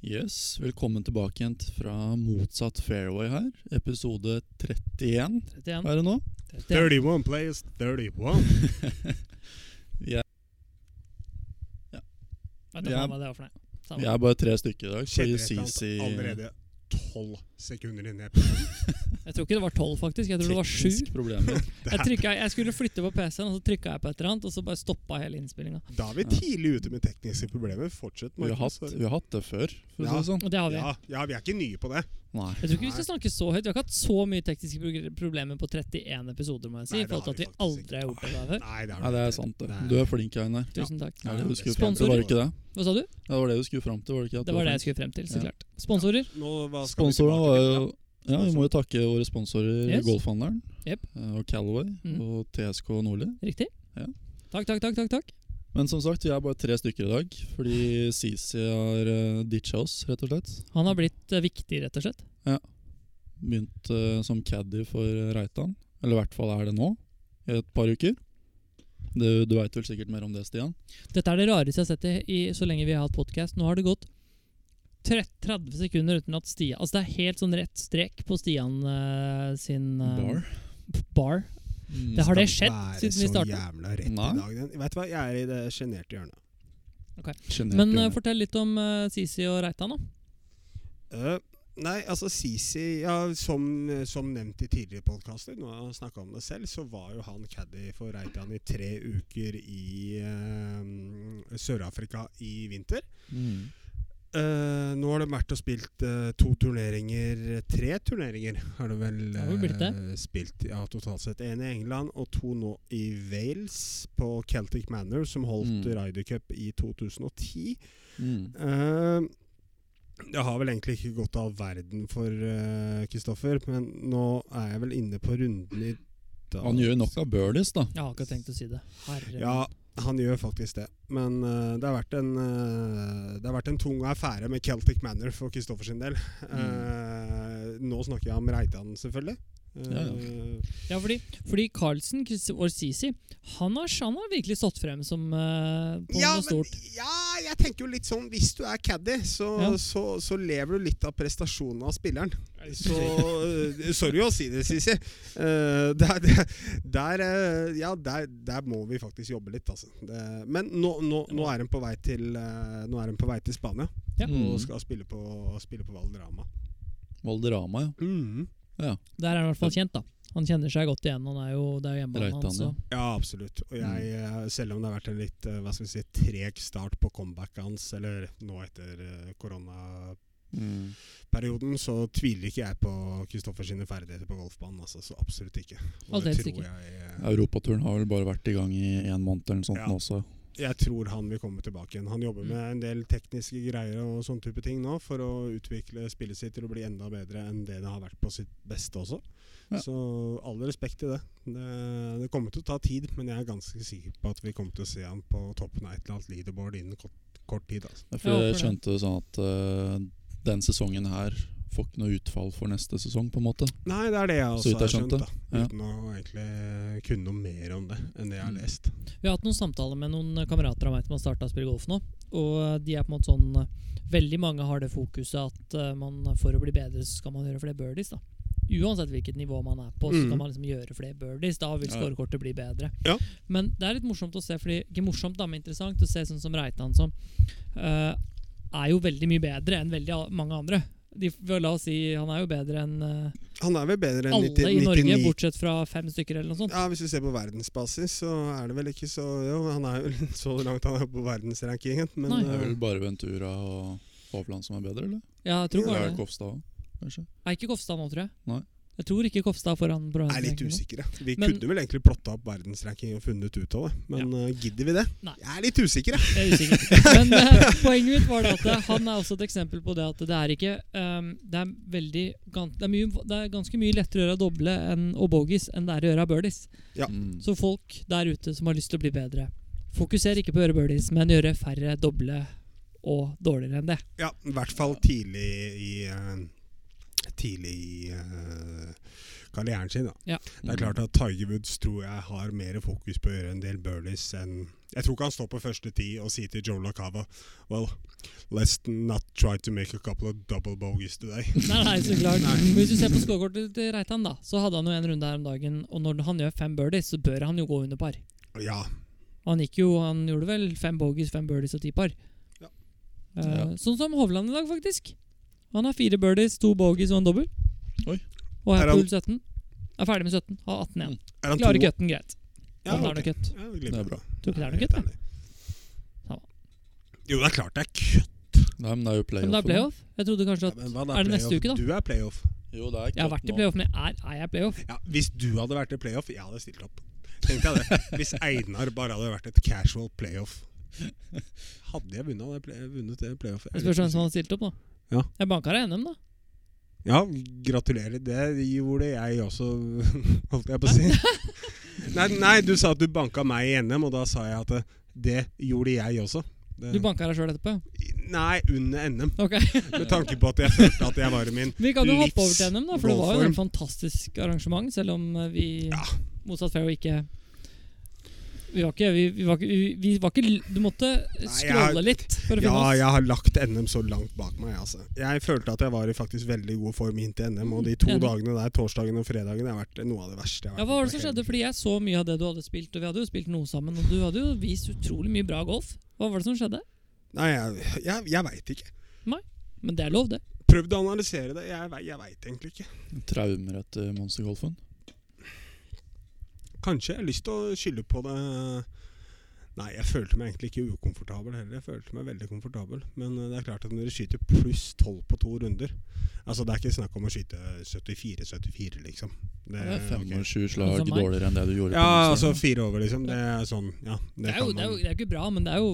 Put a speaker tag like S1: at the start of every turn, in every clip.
S1: Yes, velkommen tilbake igjen fra motsatt fairway her. Episode 31
S2: 31.
S1: er det nå.
S3: 31 plays 31.
S2: Vet du
S1: Ja.
S2: faen hva det var for noe?
S1: Vi
S2: Samme.
S1: er bare tre stykker i dag. Fordi
S3: Kjenner et eller annet
S1: Sisi
S3: allerede 12 sekunder inn i episoden.
S2: Jeg tror ikke det var 12, faktisk. Jeg tror det var 7.
S1: teknisk problemer.
S2: Jeg, trykket, jeg skulle flytte på PC-en, og så trykka jeg på et eller annet, og så bare stoppa hele innspillinga.
S3: Da er vi tidlig ute med tekniske problemer. Fortsett.
S1: Vi har,
S3: Markus.
S1: hatt, vi har hatt det før, for å si det sånn.
S2: Og det har vi.
S3: Ja, ja, vi er ikke nye på det.
S1: Nei.
S2: Jeg tror ikke vi skal snakke så høyt. Vi har ikke hatt så mye tekniske pro- problemer på 31 episoder, må jeg si,
S3: Nei,
S2: i
S3: det
S2: forhold til
S3: har
S2: at
S3: vi
S2: vi
S3: faktisk
S2: aldri har gjort det der før.
S3: Nei, det
S1: Nei,
S3: har
S1: det
S3: du
S1: er
S3: ikke.
S1: sant, det.
S3: Nei.
S1: Du er flink, Einar.
S2: Tusen takk.
S1: Ja, det du skulle
S2: Sponsor.
S1: fram til, var det ikke det?
S2: Hva sa du?
S1: Ja, Det var det du skulle fram til, var det ikke? at du
S2: Det var
S1: var
S2: det
S1: flink?
S2: jeg skulle frem til, så
S1: Ja.
S2: klart. Sponsorer.
S3: Nå, hva skal vi
S1: Sponsorene var
S3: tilbake
S1: jo
S3: til?
S1: Ja, vi må jo takke våre sponsorer
S2: Yes.
S1: Golfhandleren
S2: Jep.
S1: eh, og Calaway
S2: Mm.
S1: og TSK Nordli.
S2: Riktig?
S1: Ja.
S2: Takk, takk, takk. takk, takk.
S1: Men som sagt, vi er bare tre stykker i dag, fordi Sisi har uh, ditcha oss, rett og slett.
S2: Han har blitt eh, viktig, rett og slett.
S1: Begynt eh, som caddy for eh, Reitan. Eller i hvert fall er det nå, i et par uker. Du, du veit vel sikkert mer om det, Stian?
S2: Dette er det rareste jeg har sett i, i så lenge vi har hatt podkast. Nå har det gått tre- 30 sekunder uten at Stian Altså det er helt sånn rett strek på Stian eh, sin eh, bar.
S1: Mm.
S2: Det har det
S3: Skal
S2: skjedd
S3: være
S2: siden vi
S3: så
S2: startet.
S3: jævla rett
S1: Nei.
S3: i dag. Den. Vet du hva, jeg er i det sjenerte hjørnet.
S1: Sjenert
S2: Men eh,
S1: gjerne.
S2: fortell litt om eh, Sisi og Reitan, da.
S3: Eh, nei, altså Sisi ja, som, som nevnt i tidligere podkaster, nå har han snakka om det selv, så var jo han caddy for Reitan i tre uker i eh, Sør-Afrika i vinter.
S1: mm.
S3: Eh, nå har de vært og spilt eh, to turneringer Tre turneringer har de vel
S2: Har vi blitt det?
S3: eh, spilt. Ja, totalt sett. En i England og to nå i Wales, på Celtic Manor, som holdt
S1: Mm.
S3: Ryder Cup i 2010.
S1: Mm.
S3: Eh, Det har vel egentlig ikke gått all verden for eh, Kristoffer, men nå er jeg vel inne på runden i dag.
S1: Han gjør nok av birdies, da.
S2: Jeg har ikke tenkt å si det. Herre
S3: Ja, han gjør faktisk det. Men eh, det, har vært en, eh, det har vært en tung affære med Celtic Manor for Kristoffer sin del.
S2: Mm.
S3: Eh, nå snakker jeg om Reitan, selvfølgelig. Eh,
S1: Ja,
S2: Ja, fordi, fordi Carlsen, Chris- vår Sisi, han har, han har virkelig stått frem som eh, på
S3: ja,
S2: noe
S3: men,
S2: stort.
S3: ja, jeg tenker jo litt sånn Hvis du er caddy, så,
S2: Ja.
S3: så, så lever du litt av prestasjonen av spilleren. Så eh, Sorry å si det, Sisi. Eh, der, der, der, eh, ja, der, der må vi faktisk jobbe litt, altså. Det, men nå, nå, nå er han på vei til eh, Nå er han på vei til Spania
S2: Ja.
S1: Mm.
S3: og skal spille på, spille på Valderama.
S1: Valderama, ja.
S2: Mm. Der er han i hvert fall kjent, da. Han kjenner seg godt igjen. Han er jo, det er jo hjemmebanen
S1: Reitan,
S2: hans.
S1: ja.
S2: så-
S3: Ja, absolutt. Og jeg,
S2: Mm.
S3: eh, selv om det har vært en litt eh, hva skal vi si, treg start på comebacket hans, eller nå etter eh, koronaperioden,
S1: Mm.
S3: så tviler ikke jeg på Kristoffer sine ferdigheter på golfbanen. Altså, så absolutt ikke. Og
S2: Aldeles
S3: det tror
S2: ikke.
S3: jeg, eh,
S1: Europaturen har vel bare vært i gang i en måned eller noe sånt
S3: Ja.
S1: nå også.
S3: jeg tror han vil komme tilbake igjen. Han jobber
S2: Mm.
S3: med en del tekniske greier og sånne type ting nå for å utvikle spillet sitt til å bli enda bedre enn det det har vært på sitt beste også.
S1: Ja.
S3: Så all respekt til det. det. Det kommer til å ta tid, men jeg er ganske sikker på at vi kommer til å se han på toppen av et eller annet leaderboard innen kort, kort tid. Altså.
S1: Jeg,
S2: Jeg håper
S1: jeg
S2: det.
S1: skjønte sånn at eh, den sesongen her får ikke noe utfall for neste sesong, på en måte.
S3: Nei, det er det
S1: Så
S3: jeg også
S1: vidt jeg
S3: har skjønt,
S1: skjønte.
S3: da.
S1: Ja.
S3: Uten å egentlig kunne noe mer om det enn det jeg har
S1: Mm.
S3: lest.
S2: Vi har hatt noen samtaler med noen kamerater av meg som har starta å spille golf nå. Og eh, de er på en måte sånn eh, Veldig mange har det fokuset at eh, man for å bli bedre, så skal man gjøre flere birdies. da Uansett hvilket nivå man er på, så
S3: Mm.
S2: skal man liksom gjøre flere birdies. Da vil
S1: Ja.
S2: scorekortet bli bedre.
S3: Ja.
S2: Men det er litt morsomt å se, fordi, ikke morsomt, da, men interessant å se sånn som Reitan, som eh, er jo veldig mye bedre enn veldig a- mange andre. De, la oss si han er jo bedre enn eh,
S3: Han er vel bedre enn
S2: alle
S3: 90,
S2: i Norge,
S3: 99
S2: bortsett fra fem stykker eller noe sånt.
S3: Ja, Hvis vi ser på verdensbasis, så er det vel ikke så Jo, han er jo så langt han er på verdensrankingen, men
S2: Nei.
S1: Det er
S3: eh,
S1: vel bare Ventura og Hovland som er bedre, eller?
S2: Ja, jeg tror
S3: Ja,
S2: bare
S1: Er
S2: det.
S1: det Kofstad også, kanskje?
S2: Er ikke Kofstad nå, tror jeg.
S1: Nei.
S2: Jeg tror ikke Kofstad er foran. på
S3: er litt
S2: ranking nå.
S3: usikre. Vi
S2: Men-
S3: kunne vel egentlig plotta opp verdensrankingen og funnet ut av det, men eh, gidder vi det?
S2: Nei.
S3: Jeg er litt usikker, jeg.
S2: Jeg er usikker. Men eh, poenget mitt var det at eh, han er også et eksempel på det at det er ikke ehm, Det er veldig gan- det er, mye, det er ganske mye lettere å gjøre doble enn, og bogies enn det er å gjøre birdies.
S3: Ja.
S1: Mm.
S2: Så folk der ute som har lyst til å bli bedre, fokuser ikke på å gjøre birdies, men gjøre færre doble og dårligere enn det.
S3: Ja, I hvert fall tidlig i eh, tidlig i eh, karrieren sin. Da.
S2: Ja.
S3: Det
S2: Mm.
S3: er klart at Tiger Woods tror jeg har mer fokus på å gjøre en del birdies enn Jeg tror ikke han står på første ti og sier til Joe LaCava Well, let's not try to make a couple of double bogeys today.
S2: Nei, nei, så klart.
S3: Nei.
S2: Men Hvis du ser på scorekortet til Reitan, da, så hadde han jo en runde her om dagen. Og når han gjør fem birdies, så bør han jo gå under par.
S3: Ja,
S2: Og han gikk jo, han gjorde vel fem bogies, fem birdies og ti par.
S3: Ja.
S2: Eh,
S1: Ja.
S2: Sånn som Hovland i dag, faktisk. Han har fire birdies, to bogies og en dobbel.
S1: Oi.
S2: Og
S3: Er
S2: er på
S3: han-
S2: hull 17. Er ferdig med 17. Har 18 igjen.
S3: er han
S2: Klarer
S3: to-
S2: cutten greit.
S3: Ja,
S2: han
S3: ok.
S2: er nok cut.
S3: Ja, vi glemmer
S1: Det er bra.
S2: Tror ikke det er noe
S3: Jeg
S2: cut, da.
S3: er
S2: Samme.
S3: helt enig. Jo, det er klart det er cut.
S1: Nei, men det er jo
S2: Men det
S1: playoff.
S2: er playoff. Jeg trodde kanskje
S3: Ja,
S2: at
S3: men hva,
S2: er det neste
S3: playoff?
S2: uke, da?
S3: Du er playoff.
S1: Jo, det er
S2: Jeg har vært i playoff, men er, er jeg i playoff?
S3: Ja, hvis du hadde vært i playoff, jeg hadde stilt opp. Tenk deg det. Hvis Einar bare hadde vært et casual playoff. Hadde jeg vunnet det, play vunnet det playoffet?
S2: Det spørs hvem som har stilt opp, da.
S3: Ja.
S2: Jeg banka deg i NM, da.
S3: Ja, gratulerer. Det gjorde jeg også, holdt jeg på å si. Nei, nei, du sa at du banka meg i NM, og da sa jeg at eh, det gjorde jeg også. Det-
S2: Du banka deg sjøl etterpå.
S3: Nei, under NM.
S2: Ok.
S3: Med tanke på at jeg følte at jeg var i min
S2: Vi kan jo
S3: Livs
S2: hoppe over til NM, da, for det var jo
S3: golfform.
S2: et fantastisk arrangement, selv om eh, vi
S3: Ja.
S2: motsatt fairway ikke vi var ikke, vi, vi var ikke, vi, vi var ikke l- Du måtte
S3: jeg
S2: scrolle
S3: har-
S2: litt for å
S3: Ja,
S2: finne oss.
S3: jeg har lagt NM så langt bak meg. Altså. Jeg følte at jeg var i faktisk veldig god form inn til NM, og de to
S2: Enig.
S3: dagene der, torsdagen og fredagen, har vært noe av det verste. jeg har
S2: Ja,
S3: vært
S2: Hva var det
S3: på
S2: som
S3: hele-
S2: skjedde? Fordi jeg så mye av det du hadde spilt, og vi hadde jo spilt noe sammen, og du hadde jo vist utrolig mye bra golf. Hva var det som skjedde?
S3: Nei, jeg, jeg, jeg veit ikke.
S2: Men det er lov, det.
S3: Prøvd å analysere det. Jeg, ve- jeg veit egentlig ikke.
S1: Traumer etter monstergolfen.
S3: Kanskje. Jeg har lyst til å skylde på det Nei, jeg følte meg egentlig ikke ukomfortabel heller. Jeg følte meg veldig komfortabel. Men eh, det er klart at når du skyter pluss 12 på to runder Altså, det er ikke snakk om å skyte 74-74, liksom.
S1: Det er fem
S3: ok.
S1: og sju slag
S2: Sånn som meg.
S1: dårligere enn det du gjorde.
S3: Ja,
S1: på
S3: altså
S1: monsteren.
S3: fire over, liksom. Det er sånn, ja. Det,
S2: Det er, jo, det,
S3: kan
S2: er jo,
S3: man.
S2: det er jo ikke bra, men det er jo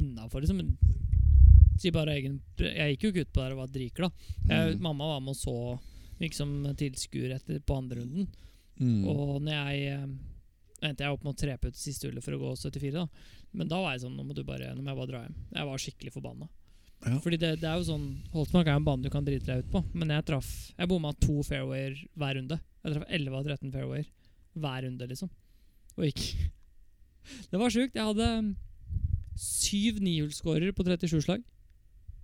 S2: innafor, liksom. Men Si bare egen Jeg gikk jo ikke ut på det her og var dritglad. Jeg-
S1: Mm.
S2: Mamma var med og så liksom tilskuer etter på andre runden.
S1: Mm.
S2: Og når jeg eh, endte jeg opp med å trepe ut siste hullet for å gå 74, da. Men da var jeg sånn Nå må du bare Nå må jeg bare dra hjem. Jeg var skikkelig forbanna.
S1: Ja.
S2: Fordi det, det er jo sånn Holtmark er en bane du kan drite deg ut på, men jeg traff Jeg bomma to fairwayer hver runde. Jeg traff 11 av 13 fairwayer hver runde, liksom. Og gikk Det var sjukt. Jeg hadde syv nihullsskårere på 37 slag.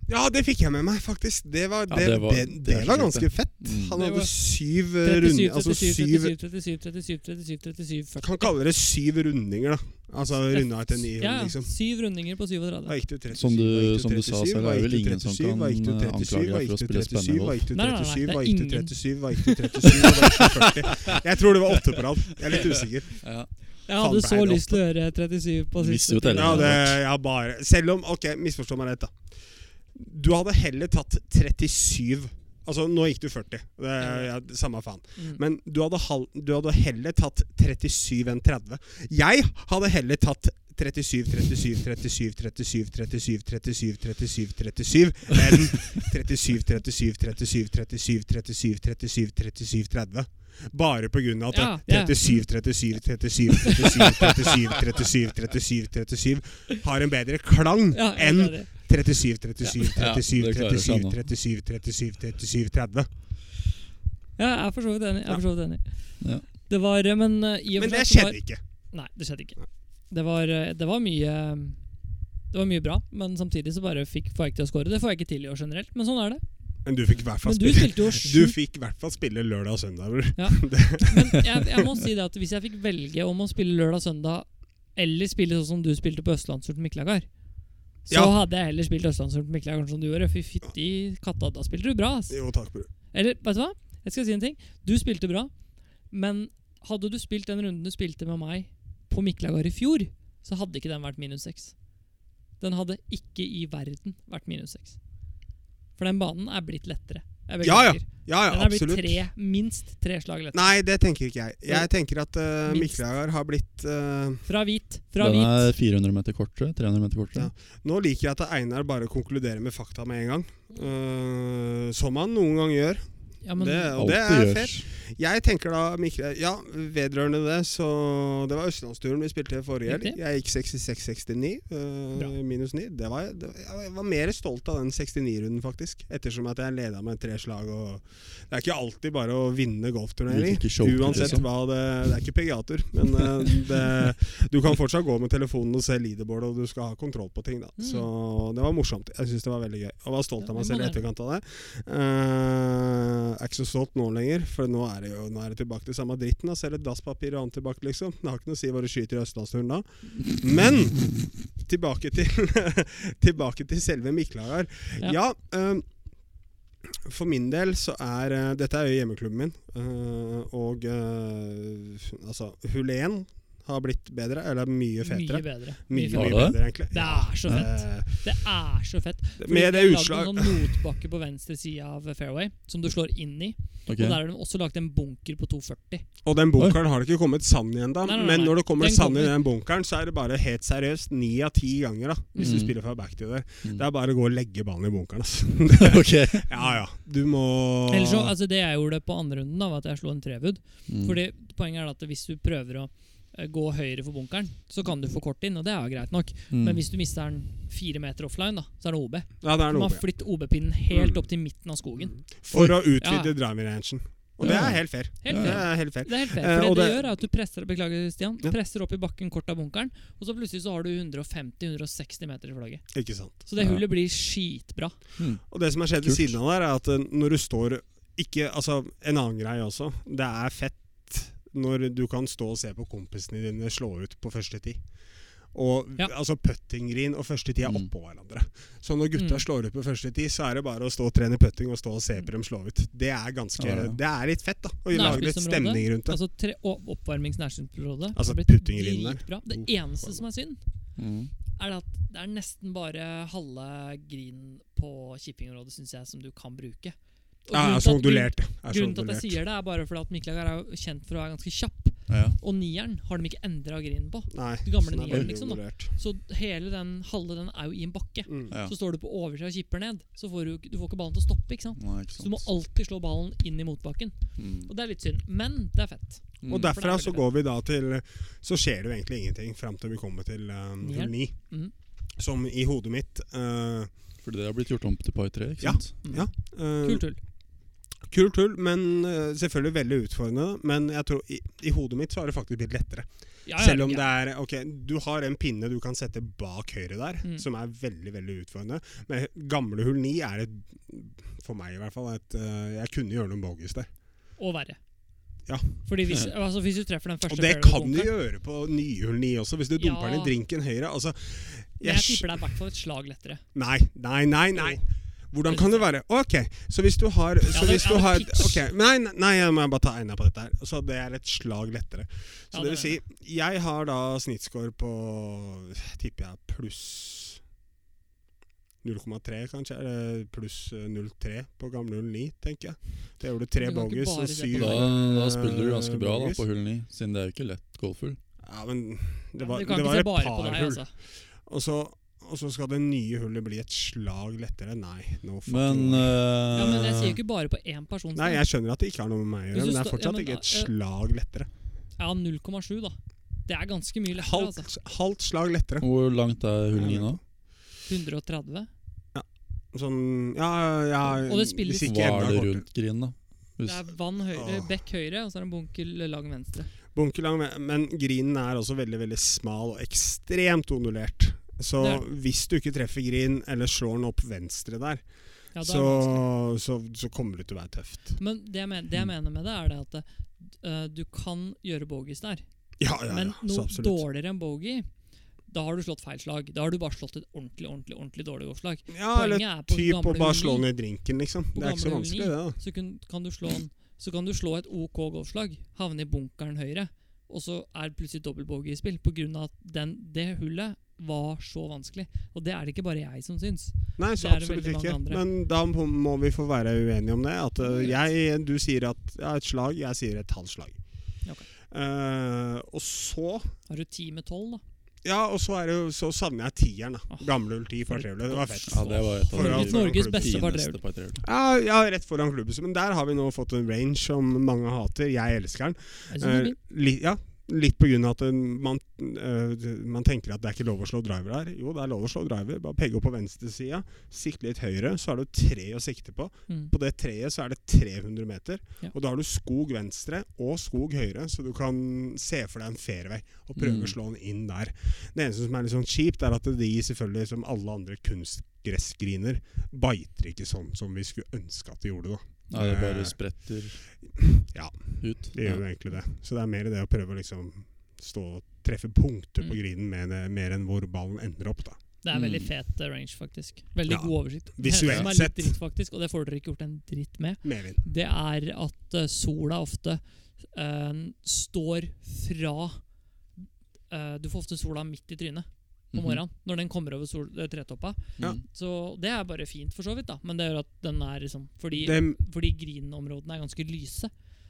S3: Ja, det fikk jeg med meg, faktisk. Det var,
S1: Ja,
S3: det,
S1: det var-
S3: det, det,
S1: det er
S3: var
S1: sjukt,
S3: ganske fett.
S1: Mm.
S3: Han
S2: Det var
S3: hadde syv eh,
S2: 37,
S3: runder Altså
S2: 37,
S3: syv
S2: 37, 37, 37, 37, 37, 40.
S3: Kan kalle det syv rundinger, da. Altså runda etter ni,
S2: Ja, ja.
S3: liksom.
S2: syv rundinger på 37.
S3: Da gikk det 37,
S1: Som du-
S3: da gikk det
S1: som du sa
S3: 37,
S1: selv,
S3: da
S1: er det
S3: gikk
S1: vel
S3: det
S1: ingen som
S3: 37,
S1: kan,
S3: da gikk det
S1: eh,
S3: 37,
S1: anklage
S3: da
S1: deg for å
S3: gikk det
S1: spille
S3: 37, da gikk det
S2: Nei, nei, nei, det er
S3: 37, da gikk det
S2: ingen.
S3: 37, da gikk det 37, da gikk det 40. Jeg tror det var åtte på rad. Jeg er litt usikker.
S1: Ja.
S2: Jeg
S3: Faen,
S2: hadde
S3: det
S2: så
S3: er
S2: lyst til å høre 37 på
S1: Du
S2: siste.
S1: mister jo
S2: tid.
S1: tellingen.
S3: Ja, det ja, bare Selv om Ok, misforstå meg rett, da. Du hadde heller tatt 37 Altså, nå gikk du 40. Det er ja, samme faen.
S2: Mm.
S3: Men du hadde, hal- du hadde heller tatt 37 enn 30. Jeg hadde heller tatt 37, 37, 37, 37, 37, 37, 37, 37 enn 37, 37, 37, 37, 37, 37, 37, 30. Bare på grunn av at
S2: Ja, ja.
S3: 37, 37, 37, 37, 37, 37, 37, 37 har en bedre klang
S2: Ja, jeg
S3: enn
S2: er enig.
S3: 37, 37,
S1: Ja,
S3: 37,
S1: det klarer
S3: 37,
S1: jeg
S3: 37, 37, 37, 30.
S2: Ja, jeg er for så vidt enig. Jeg er for så vidt enig.
S1: Ja.
S2: Det var eh, Men eh, i og
S3: Men
S2: for
S3: det
S2: seg så
S3: skjedde ikke.
S2: var- Nei, det skjedde ikke. Det var, eh, det var mye Det var mye bra, men samtidig så bare fikk, får jeg ikke til å score. Det får jeg ikke til i år generelt, men sånn er det.
S3: Men du fikk i hvert fall
S2: Men du
S3: spille
S2: spilte jo
S3: Du
S2: sjukt.
S3: fikk i hvert fall spille lørdag og søndag. bror.
S2: Men jeg, jeg må si det at hvis jeg fikk velge om å spille lørdag-søndag eller spille sånn som du spilte på Østlandsturn på Miklagard, så
S3: Ja.
S2: hadde jeg heller spilt Østlandsturn på Miklagard sånn som du gjorde. Fy fytti katta, da spilte du bra, ass.
S3: Jo, takk, bror.
S2: Eller, vet du hva? Jeg skal si en ting. Du spilte bra, men hadde du spilt den runden du spilte med meg på Miklagard i fjor, så hadde ikke den vært minus seks. Den hadde ikke i verden vært minus seks. For den banen er blitt lettere. Jeg
S3: Ja, ja,
S2: beklager.
S3: Ja, ja,
S2: Den er blitt
S3: absolutt.
S2: tre, minst tre slag lettere.
S3: Nei, det tenker ikke jeg.
S2: Nei.
S3: Jeg tenker at uh,
S2: Minst.
S3: Miklagard har blitt eh,
S2: Fra hvit, fra
S1: Den
S2: hvit.
S1: er 400 meter kortere. 300 meter kortere.
S3: Ja. Nå liker jeg at Einar bare konkluderer med fakta med en gang. Eh, som han noen gang gjør.
S2: Ja, men,
S3: det,
S1: Alt
S3: og det er
S1: gjørs.
S3: fair. Jeg tenker da, Mikkel Ja, vedrørende det, så Det var Østlandsturen vi spilte forrige helg.
S2: Riktig.
S3: Jeg gikk 66-69, øh,
S2: Bra.
S3: minus 9. Det var, det, jeg var mer stolt av den 69-runden, faktisk. Ettersom at jeg leda med tre slag. Og det er ikke alltid bare å vinne golfturnering.
S1: Like choker,
S3: Uansett
S1: liksom.
S3: hva det Det er ikke PGA-tur, men øh, det, du kan fortsatt gå med telefonen og se leaderboard, og du skal ha kontroll på ting, da.
S2: Mm.
S3: Så det var morsomt. Jeg syns det var veldig gøy. Og var
S2: Ja,
S3: stolt av
S2: vi må
S3: meg selv i
S2: det.
S3: etterkant av det. Eh, er ikke så stolt nå lenger, for nå er det jo nå er det tilbake til samme dritten. Da. Selger dasspapir og annet tilbake, liksom. Det har ikke noe å si hva du skyter i Østlandsturen da. Men tilbake til, tilbake til selve Miklagar.
S2: Ja.
S3: Ja, eh, for min del så er eh, Dette er jo hjemmeklubben min, eh, og eh, altså Hulén har blitt bedre, eller mye
S2: mye
S3: fetere.
S2: bedre.
S3: Mye,
S1: Har
S3: mye
S1: det?
S3: bedre, egentlig.
S2: Det er så fett.
S3: Eh,
S2: Det er så fett. Fordi
S3: Med
S2: de
S3: det
S2: har lagd
S3: utslag
S2: en sånn motbakke på venstre side av fairway som du slår inn i.
S1: Ok.
S2: Og Der har de også lagt en bunker på 2,40.
S3: Og den bunkeren har det ikke kommet sand i ennå.
S2: Nei, nei, nei,
S3: Men
S2: nei.
S3: når det kommer
S2: Den
S3: sand i
S2: kommer.
S3: den bunkeren, så er det bare helt seriøst ni av ti ganger. da Hvis du
S1: Mm.
S3: spiller fra back til der.
S1: Mm.
S3: Det er bare å gå og legge ballen i bunkeren. ass.
S1: Ok.
S3: ja ja. Du må
S2: Ellers så, altså Det jeg gjorde på andre runden, da, var at jeg slo en trewood.
S1: Mm.
S2: Fordi Poenget er at hvis du prøver å eh, gå høyre for bunkeren, så kan du få kort inn, og det er jo greit nok.
S1: Mm.
S2: Men hvis du mister den fire meter offline, da, så er det OB.
S3: Ja, det
S2: Man
S3: er
S2: har
S3: noe med.
S2: flytt OB-pinnen helt
S3: Mm.
S2: opp til midten av skogen.
S3: For
S1: Oi.
S3: å
S2: Mm.
S3: utvide
S2: Ja.
S3: driving rangen.
S1: Ja.
S3: Og det er helt fair.
S2: Helt
S3: Det
S2: fair.
S3: er helt fair.
S2: Det er helt fair,
S3: Mm. Eh,
S2: for det,
S3: og
S2: det
S3: det-
S2: gjør er at du presser Beklager, Stian.
S3: Ja.
S2: Presser opp i bakken kort av bunkeren, og så plutselig så har du 150-160 meter i flagget.
S3: Ikke sant.
S2: Så det
S1: Ja.
S2: hullet blir skitbra.
S1: Mm.
S3: Og det som har skjedd ved
S1: Kult.
S3: siden av der, er at eh, når du står ikke, altså En annen greie også. Det er fett når du kan stå og se på kompisene dine slå ut på første tid. Og
S2: Ja.
S3: altså putting-green og første tid er
S1: Mm.
S3: oppå hverandre. Så når gutta
S2: Mm.
S3: slår ut på første tid, så er det bare å stå og trene putting og stå og se på dem slå ut. Det er ganske
S1: Ja, ja.
S3: Det er litt fett, da. Og lage litt
S2: Nærspissområde.
S3: stemning rundt det.
S2: Altså tre, og oppvarmings-nærsynsområdet
S3: Altså,
S2: har blitt
S3: puttingrinden der.
S2: dritbra. Det
S3: Oh,
S2: eneste som er synd,
S1: Mm.
S2: er det at det er nesten bare halve green på chippingområdet, syns jeg, som du kan bruke. Og
S3: Ja,
S2: grunnen
S3: ja,
S2: til at-
S3: sondulert.
S2: Grunnen til at
S3: Er
S2: jeg
S3: sondulert.
S2: sier det, er bare fordi at Miklager er jo kjent for å være ganske kjapp.
S1: Ja.
S2: Og nieren har de ikke endra grinen på.
S3: Nei,
S2: de gamle
S3: sånn er
S2: nieren,
S3: det
S2: liksom, da.
S3: sondulert.
S2: Så hele den halve den er jo i en bakke.
S3: Mm.
S1: Ja.
S2: Så står du på oversida og kipper ned, så får du, ikke- du får ikke ballen til å stoppe. ikke sant?
S1: Nei, ikke
S2: Så
S1: sant.
S2: du må alltid slå ballen inn i motbakken.
S1: Mm.
S2: Og det er litt synd, men det er fett.
S1: Mm.
S3: Og
S2: for det
S3: derfra
S2: er
S3: så
S2: veldig
S3: går vi da til Så skjer det jo egentlig ingenting fram til vi kommer til um,
S2: Nieren.
S3: 9.
S2: Mhm.
S3: Som i hodet mitt eh,
S1: Fordi det har blitt gjort om til par tre, ikke
S3: Ja.
S1: sant?
S3: Ja. eh,
S2: Kult tull.
S3: Kult hull, men eh, selvfølgelig veldig utfordrende. Men jeg tror i, i hodet mitt så har det faktisk blitt lettere.
S2: Ja,
S3: Selv om
S2: ja.
S3: det er Ok, du har en pinne du kan sette bak høyre der,
S2: Mhm.
S3: som er veldig veldig utfordrende. Men gamle hull 9 er et For meg i hvert fall et eh, Jeg kunne gjøre noen bogies der.
S2: Og verre.
S3: Ja.
S2: Fordi hvis, altså, hvis du treffer den første
S3: Og det
S2: fairway
S3: kan du
S2: bunkeren-
S3: gjøre på nye hull 9 også, hvis du dumper den
S2: Ja.
S3: i drinken høyre. Altså,
S2: Men Jeg
S3: jeg
S2: tipper det er i hvert fall et slag lettere.
S3: Nei, nei, nei. nei. Hvordan kan det være? Ok, så hvis du har så
S2: det-
S3: hvis
S2: ja,
S3: du
S2: det
S3: har,
S2: pitch.
S3: ok, Nei, nei, nei, jeg må bare ta egna på dette her. Så det er et slag lettere. Så
S2: Ja, det
S3: det vil si, jeg har da snittscore på Tipper jeg pluss 0,3, kanskje? Eller pluss eh, 0,3 på gamle 09, tenker jeg. Det gjorde tre
S2: Du kan ikke
S3: bogies
S2: bare
S3: og
S1: Og
S2: se på
S3: syv
S1: Da,
S3: Eh,
S1: da spiller du ganske bra da,
S3: bogeys.
S1: på hull ni, siden det er jo ikke lett golfhull.
S3: Ja, men det var,
S2: du kan
S3: det
S2: ikke
S3: var
S2: se
S3: et
S2: bare på deg,
S3: par hull.
S2: altså.
S3: Og så, og så skal det nye hullet bli et slag lettere. Nei, no fucking
S1: Men,
S3: way.
S1: eh,
S2: Ja, men jeg sier jo ikke bare på én person.
S3: Nei, jeg skjønner at det ikke har noe med meg å
S2: Hvis
S3: gjøre,
S2: du
S3: men det
S2: sta-
S3: er
S2: ja,
S3: fortsatt
S2: men
S3: ikke
S2: da- eh,
S3: et slag lettere.
S2: Ja, 0,7, da. Det er ganske mye lettere, altså.
S3: Halvt, halvt slag lettere.
S1: Hvor langt er hull ni nå?
S2: 130.
S3: Sånn Ja, ja
S2: Og det spilles-
S3: hvis ikke
S1: Hva
S3: enda
S1: er det
S3: kortere.
S1: rundt green, da?
S2: Det
S1: Hvis,
S2: er vann høyre,
S3: Åh.
S2: bekk høyre, og så er det en bunker lang venstre.
S3: Bunkerlang, men grinen er også veldig, veldig smal og ekstremt ondulert. Så
S2: Det er den.
S3: hvis du ikke treffer grinen, eller slår den opp venstre der,
S2: Ja, da er det
S3: så,
S2: vanskelig.
S3: så, så kommer det til å være tøft.
S2: Men det jeg, men, det jeg mener med det, er det at eh, du kan gjøre bogies der.
S3: Ja, ja,
S2: Men
S3: ja. Så
S2: noe
S3: absolutt.
S2: dårligere enn bogey, da har du slått feil slag. Da har du bare slått et ordentlig ordentlig, ordentlig dårlig golfslag.
S3: Ja, eller
S2: Poenget er på
S3: typ å
S2: gamle
S3: bare
S2: hull
S3: slå
S2: ni.
S3: ned drinken, liksom.
S2: På
S3: Det er ikke så
S2: gamle
S3: vanskelig,
S2: hull
S3: det. da.
S2: Så kun, kan du slå en, Så kan du slå et OK golfslag, havne i bunkeren høyre, og så er det plutselig dobbelt bogey i spill pga. at den, det hullet var så vanskelig. Og det er det ikke bare jeg som syns.
S3: Nei, så
S2: Det er det
S3: absolutt
S2: veldig mange
S3: ikke.
S2: andre.
S3: Men da må må vi få være uenige om det. At eh,
S2: Det er
S3: jeg, du sier at ja, et slag, jeg sier et halvt slag.
S2: Ok.
S3: Eh, og så
S2: Har du ti med tolv, da?
S3: Ja, og så, er det, jo- så savner jeg tieren. da Gamlull 10 fartrehjulet. Det var fett.
S1: Ja, det var et av
S3: For
S1: de
S3: at-
S2: Norges beste
S1: fineste partrehjul.
S3: Ja, ja, rett foran klubbhuset. Men der har vi nå fått en range som mange hater. Jeg elsker den.
S2: Jeg synes det er
S3: Eh,
S2: fint.
S3: li, ja, litt på grunn av at en- man, eh, man tenker at det er ikke lov å slå driver der. Jo, det er lov å slå driver. Bare pegge opp på venstresida, sikte litt høyre, så har du tre å sikte på.
S2: Mm.
S3: På det treet så er det 300 meter,
S2: Ja.
S3: og da har du skog venstre og skog høyre, så du kan se for deg en fairway og prøve å
S1: Mm.
S3: slå den inn der. Det eneste som er litt sånn kjipt, er at de selvfølgelig, som alle andre kunstgressgriner, biter ikke sånn som vi skulle ønske at de gjorde, da.
S1: Nei, det
S3: Eh,
S1: bare spretter
S3: Ja.
S1: ut.
S3: Det gjør jo egentlig det. Så det er mer det å prøve å liksom stå og treffe punkter på
S2: Mm.
S3: grinen mer, mer enn hvor ballen ender opp, da.
S2: Det er en veldig
S1: Mm.
S2: fet eh, range, faktisk. Veldig
S3: Ja.
S2: god oversikt.
S3: Visuelt
S2: det som er
S3: sett.
S2: litt dritt, faktisk, og det får dere ikke gjort en dritt med,
S3: Medvind.
S2: det er at eh, sola ofte eh, står fra eh, Du får ofte sola midt i trynet
S3: Mhm.
S2: på morgenen når den kommer over sol, eh, tretoppa.
S1: Mm.
S3: Ja.
S2: Så det er bare fint, for så vidt, da. Men det gjør at den er liksom Fordi,
S3: Det,
S2: fordi grinområdene er ganske lyse,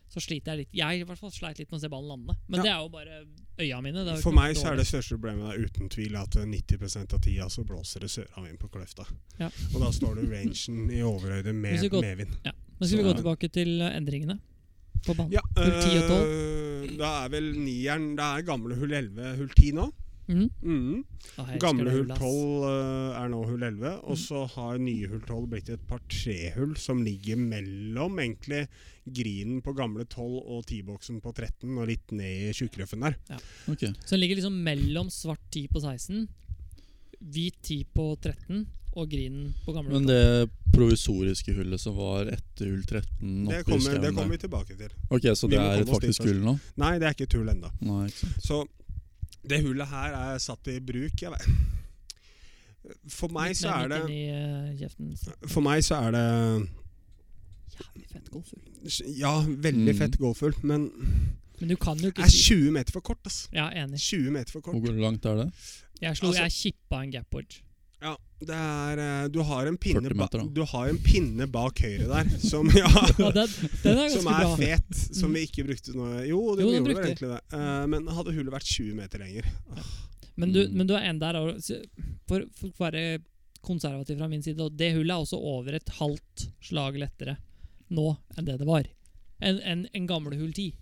S2: så sliter jeg litt. Jeg i hvert fall sleit litt med å se ballen lande. Men
S3: Ja.
S2: det er jo bare øya mine. Det er jo
S3: for
S2: ikke
S3: meg så er
S2: dårlig.
S3: det største problemet der, uten tvil at eh, 90 av tida så blåser det søravind på kløfta.
S2: Ja.
S3: Og da står du rangen i overhøyde
S2: Hvis
S3: med
S2: vi går-
S3: medvind.
S2: Men skal vi
S1: så-
S2: gå tilbake til eh, endringene på banen?
S3: Ja,
S2: Hull 10 og
S3: eh, da er vel nieren Det er gamle hull 11, hull 10 nå.
S2: Mhm.
S3: Mhm.
S2: Å, jeg elsker
S3: Gamle
S2: det
S3: hull
S2: hullet, ass.
S3: 12
S2: Mm.
S3: eh, er nå hull 11, og så har nye hull 12 blitt et par trehull som ligger mellom egentlig grinen på gamle 12 og T-boksen på 13 og litt ned i tjukkrøffen der.
S1: Ok.
S2: Så den ligger liksom mellom svart 10 på 16, hvit 10 på 13 og grinen på gamle
S1: Men
S2: hull.
S1: det provisoriske hullet som var etter hull 13
S3: Det
S1: oppe i
S3: kommer, det
S1: skauen der.
S3: kommer vi tilbake til.
S1: Ok, så
S3: vi
S1: det
S3: må
S1: er et
S3: komme oss dit altså.
S1: faktisk
S3: først.
S1: hull nå?
S3: Nei, det er ikke tull ennå.
S1: Nei, ikke sant.
S3: Så det hullet her er satt i bruk. Jeg vet. For meg
S2: Litt
S3: så
S2: mer
S3: er det
S2: midt inni, eh, kjeften. Så
S3: For meg så er det
S2: Jævlig fett golfhull.
S3: Ja, veldig
S1: Mm.
S3: fett golfhull, men
S2: Men du kan jo
S3: det
S2: ikke
S3: er
S2: si
S3: 20 meter for kort, ass.
S2: Ja, enig.
S3: 20 meter for kort.
S1: Hvor langt er det?
S2: Jeg, slo,
S3: Altså-
S2: jeg kippa en gapwatch.
S3: Ja, det er eh, Du har en pinne,
S1: 40
S3: ba,
S1: meter, da.
S3: du har en pinne bak høyre der som, ja,
S2: Ja, den, den er ganske
S3: som er
S2: bra. Mm.
S3: fet, som vi ikke brukte nå. Jo, det
S2: Jo, den
S3: gjorde vel
S2: brukte
S3: egentlig det. Eh, men hadde hullet vært 20 meter lenger
S2: Men du,
S1: Mm.
S2: men du er en der og- så- for, for å være konservativ fra min side, og det hullet er også over et halvt slag lettere nå enn det det var. En, en, en gamle hull 10.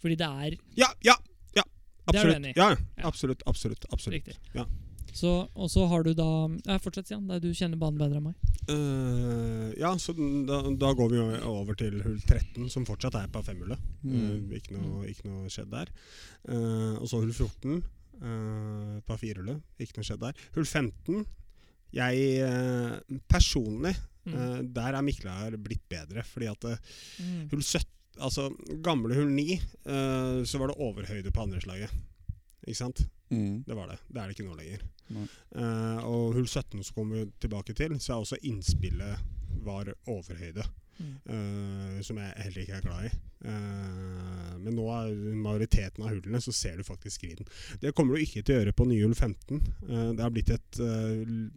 S2: Fordi det er
S3: Ja, ja! ja
S2: Det er du
S3: Absolutt.
S2: enig i?
S3: Ja, ja,
S2: Ja.
S3: absolutt, absolutt, absolutt.
S2: riktig.
S3: Ja.
S2: Så, og så har du da ja, Fortsett, Stian. Det er- Du kjenner banen bedre enn meg.
S3: Eh, ja, så den- da, da går vi jo over til hull 13, som fortsatt er på femhullet.
S1: Mm.
S3: Eh, ikke, noe, ikke noe skjedd der. Eh, og så hull 14, eh, par firehullet. Ikke noe skjedd der. Hull 15 Jeg eh, personlig
S2: Mm.
S3: Eh, der er Mikkelær blitt bedre, fordi at eh,
S2: Mm.
S3: hull 17 Altså, gamle hull 9, eh, så var det overhøyde på andre slaget. Ikke sant?
S1: Mm.
S3: Det var det. Det er det ikke nå lenger.
S1: Nei.
S3: Eh, og hull 17, som kommer vi tilbake til, så er også innspillet var overhøyde.
S2: Mm.
S3: eh, som jeg heller ikke er glad i. Eh, men nå er majoriteten av hullene, så ser du faktisk griden. Det kommer du ikke til å gjøre på nye hull 15. Eh, det har blitt et eh, l-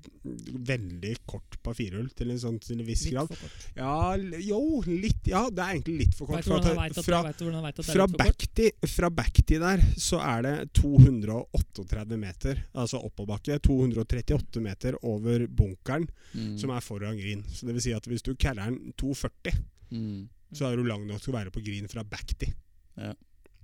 S3: veldig kort par firehull til en, sånn, til en viss
S2: Litt
S3: grad.
S2: for kort.
S3: Ja, l- jo, litt. Ja, det er egentlig litt for
S2: Vet
S3: kort.
S2: du
S3: For
S2: hvordan jeg
S3: at
S2: vet
S3: det,
S2: at-
S3: fra
S2: vet du hvordan jeg vet at det er
S3: fra
S2: litt for kort?
S3: backtid fra backtid der så er det 238 meter, altså oppoverbakke. 238 meter over bunkeren
S1: Mm.
S3: som er foran green. Så det vil si at hvis du carrer den 240,
S1: mm.
S3: så er du lang nok til å være på green fra backtid.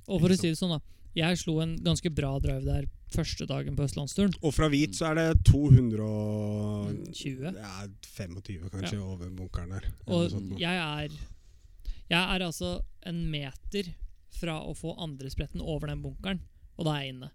S2: Og for å si det sånn, da. Jeg slo en ganske bra drive der første dagen på Østlandsturen.
S3: Og fra hvit så er det 200 og-
S2: 20.
S3: ja, 25 kanskje over bunkeren der. Eller noe
S2: Og
S1: sånn.
S3: sånt noe.
S2: jeg er Jeg er altså en meter fra å få andre spretten over den bunkeren, og da er jeg inne.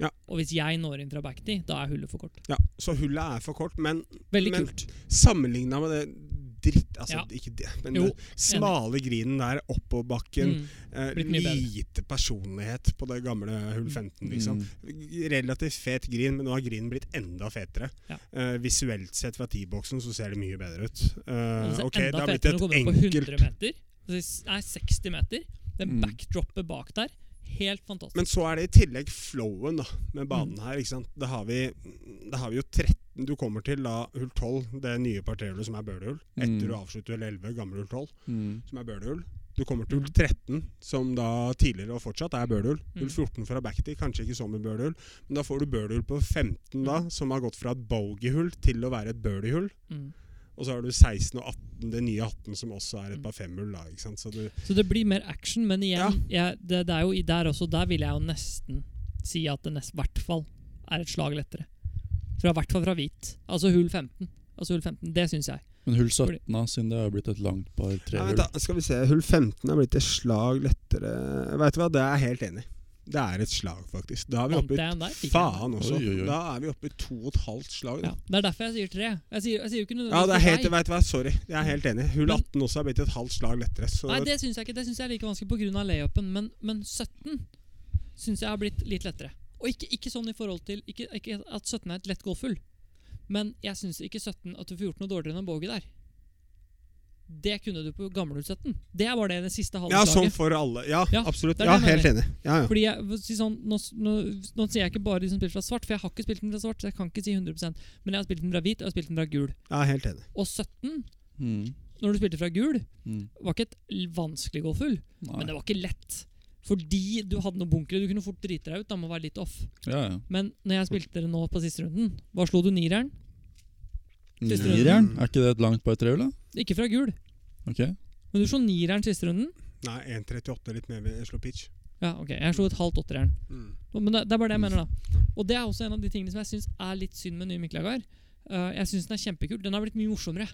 S3: Ja.
S2: Og hvis jeg når inn fra backtid, da er hullet for kort.
S3: Ja, så hullet er for kort, men
S2: Veldig
S3: Men-
S2: kult.
S3: sammenligna med det dritt Altså
S2: Ja.
S3: ikke det, men
S2: Jo,
S3: det smale grinen der, oppoverbakken.
S2: Mm.
S3: Eh,
S2: Blitt mye bedre.
S3: lite personlighet på det gamle hull 15, liksom.
S1: Mm.
S3: Relativt fet grin, men nå har grinen blitt enda fetere.
S2: Ja.
S3: Eh, visuelt sett fra T-boksen så ser det mye bedre ut. Eh,
S2: Altså,
S3: ok, det
S2: enda
S3: har blitt
S2: fetere å
S3: et
S2: komme på
S3: enkelt
S2: 100 meter. Altså, Nei, 60 meter. Den
S1: Mm.
S2: backdroppet bak der, helt fantastisk.
S3: Men så er det i tillegg flowen da,
S2: Mm.
S3: med banen her. ikke sant? Da har, vi, da har vi jo 13 du kommer til da hull 12, det nye parterhullet som er bølehull.
S1: Mm.
S3: Etter du avslutter hull 11, gamle hull 12,
S1: Mm.
S3: som er bølehull. Du kommer til hull 13, som da tidligere og fortsatt er birdhull. Hull
S2: Mm.
S3: 14 fra backtee, kanskje ikke som en birdhull. Men da får du birdhull på 15, da, som har gått fra et bogeyhull til å være et birdiehull.
S2: Mm.
S3: Og så har du 16 og 18, det nye 18, som også
S2: Mm.
S3: er et par femhull. da, ikke sant? Så du,
S2: Så det blir mer action, men igjen, jeg, det, det er jo i- der også, der vil jeg jo nesten si at det nest, i hvert fall er et slag lettere. Fra, I hvert fall fra hvit. Altså hull 15. Altså hull 15, Det syns jeg.
S1: Men hull 17, da, siden det har blitt et langt par
S3: Nei,
S1: trehull.
S3: vent da, skal vi se. Hull 15 er blitt et slag lettere. Vet du hva, det er jeg helt enig i. Det er et slag, faktisk. Da er vi
S2: Vant jeg
S3: oppe
S2: den der?
S3: i
S2: Fikk jeg den?
S3: Faen også.
S1: Oi, oi, oi.
S3: Da er vi oppe i to og et halvt slag.
S2: Ja,
S3: Da.
S2: det er derfor jeg sier tre. Jeg sier, jeg sier jo ikke
S3: Ja,
S2: noe
S3: det er helt, vet du hva, Sorry, jeg er helt enig. Hull
S2: Men-
S3: 18 også er blitt et halvt slag lettere. Så
S2: Nei, det syns jeg ikke. Det syns jeg er like vanskelig pga. layupen. Men, men 17 syns jeg har blitt litt lettere. Og ikke, ikke sånn i forhold til ikke, ikke at 17 er et lett golfhull. Men jeg syns ikke 17 at du får gjort noe dårligere enn en bogey der. Det kunne du på gamlehull 17. Det var det, det siste halve
S3: ja, sånn
S2: slaget.
S3: for alle. Ja,
S2: Ja,
S3: absolutt.
S2: det er
S3: Ja,
S2: det jeg
S3: helt enig. Ja, ja.
S2: Fordi jeg, for å si sånn, nå, nå, nå sier jeg ikke bare de som spiller fra svart, for jeg har ikke spilt den fra svart. så jeg kan ikke si 100%, Men jeg har spilt den fra hvit og jeg har spilt den fra gul.
S3: ja helt enig.
S2: Og 17,
S1: Mm.
S2: når du spilte fra gul,
S1: Mm.
S2: var ikke et l- vanskelig golfhull. Men
S1: Nei.
S2: det var ikke lett. Fordi du hadde noen bunkere. Du kunne fort drite deg ut. Da må være litt off.
S1: Ja, ja.
S2: Men når jeg spilte det nå på siste runden, hva slo du nireren? Siste runden.
S1: Nireren, er ikke det et langt par trehull, da?
S2: Ikke fra gul,
S1: Ok.
S2: men du slo nireren siste runden.
S3: Nei, 1,38 litt mer ved slå pitch.
S2: Ja, ok. Jeg slo et halvt åttereren.
S3: Mm.
S2: Men det, det er bare det jeg mener, da. Og det er også en av de tingene som jeg syns er litt synd med nye Mikkel Agar. Eh, jeg syns den er kjempekul. Den har blitt mye morsommere.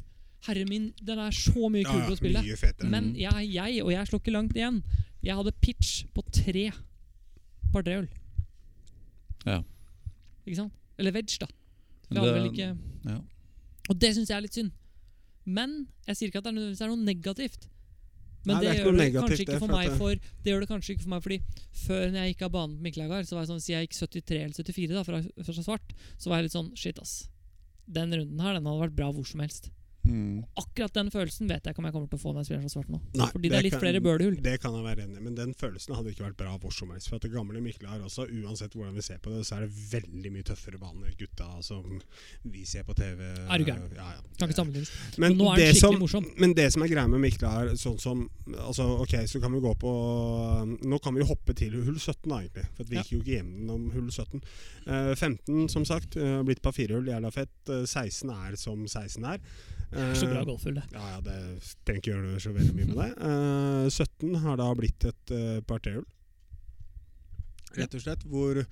S2: Herre min, den er så mye
S3: Ja,
S2: kulere
S3: ja,
S2: å spille.
S3: mye fetere.
S2: Men
S1: Mm.
S2: jeg, jeg, og jeg slår ikke langt igjen, jeg hadde pitch på tre par trehull.
S1: Ja.
S2: Ikke sant? Eller wedge, da. For
S1: Men
S2: jeg
S1: det-
S2: hadde vel ikke...
S1: ja.
S2: Og det syns jeg er litt synd. Men jeg sier ikke at det er nødvendigvis er noe negativt. Men
S3: Nei, det
S2: det,
S3: er ikke
S2: gjør
S3: noe
S2: det kanskje
S3: negativt, det,
S2: ikke for
S3: for
S2: meg
S3: at
S2: for Det gjør det kanskje ikke for meg fordi før når jeg gikk av banen på Mikkelagar, så var jeg sånn Si jeg gikk 73 eller 74 da, fra, fra svart, så var jeg litt sånn Shit, ass. Den runden her, den hadde vært bra hvor som helst.
S1: Mm.
S2: Akkurat den følelsen vet jeg ikke om jeg kommer til å få når jeg spiller fra svart nå.
S3: Nei,
S2: Fordi det er litt
S3: kan-
S2: flere birdiehull.
S3: Det kan jeg være enig i, men den følelsen hadde ikke vært bra hvor som helst. For at det gamle Mikkel har også, uansett hvordan vi ser på det, så er det veldig mye tøffere baner, gutta som vi ser på TV.
S2: Er du gæren?
S3: Ja, ja.
S2: Kan ikke sammenlignes.
S3: Men
S2: Nå er den
S3: det
S2: skikkelig
S3: som,
S2: morsom.
S3: Men det som er greia med Mikkel er sånn som altså, Ok, så kan vi gå på Nå kan vi hoppe til hull 17, da, egentlig. For at vi
S2: Ja.
S3: gikk jo ikke gjennom hull 17. Eh, 15, som sagt, eh, blitt par firehull, jævla fett. Eh, 16 er som 16 er.
S2: Det er så bra
S3: Eh,
S2: golfhull, det.
S3: ja, ja, det trenger ikke gjøre så veldig mye med det. Eh, 17 har da blitt et uh, par trehjul, rett og slett. Hvor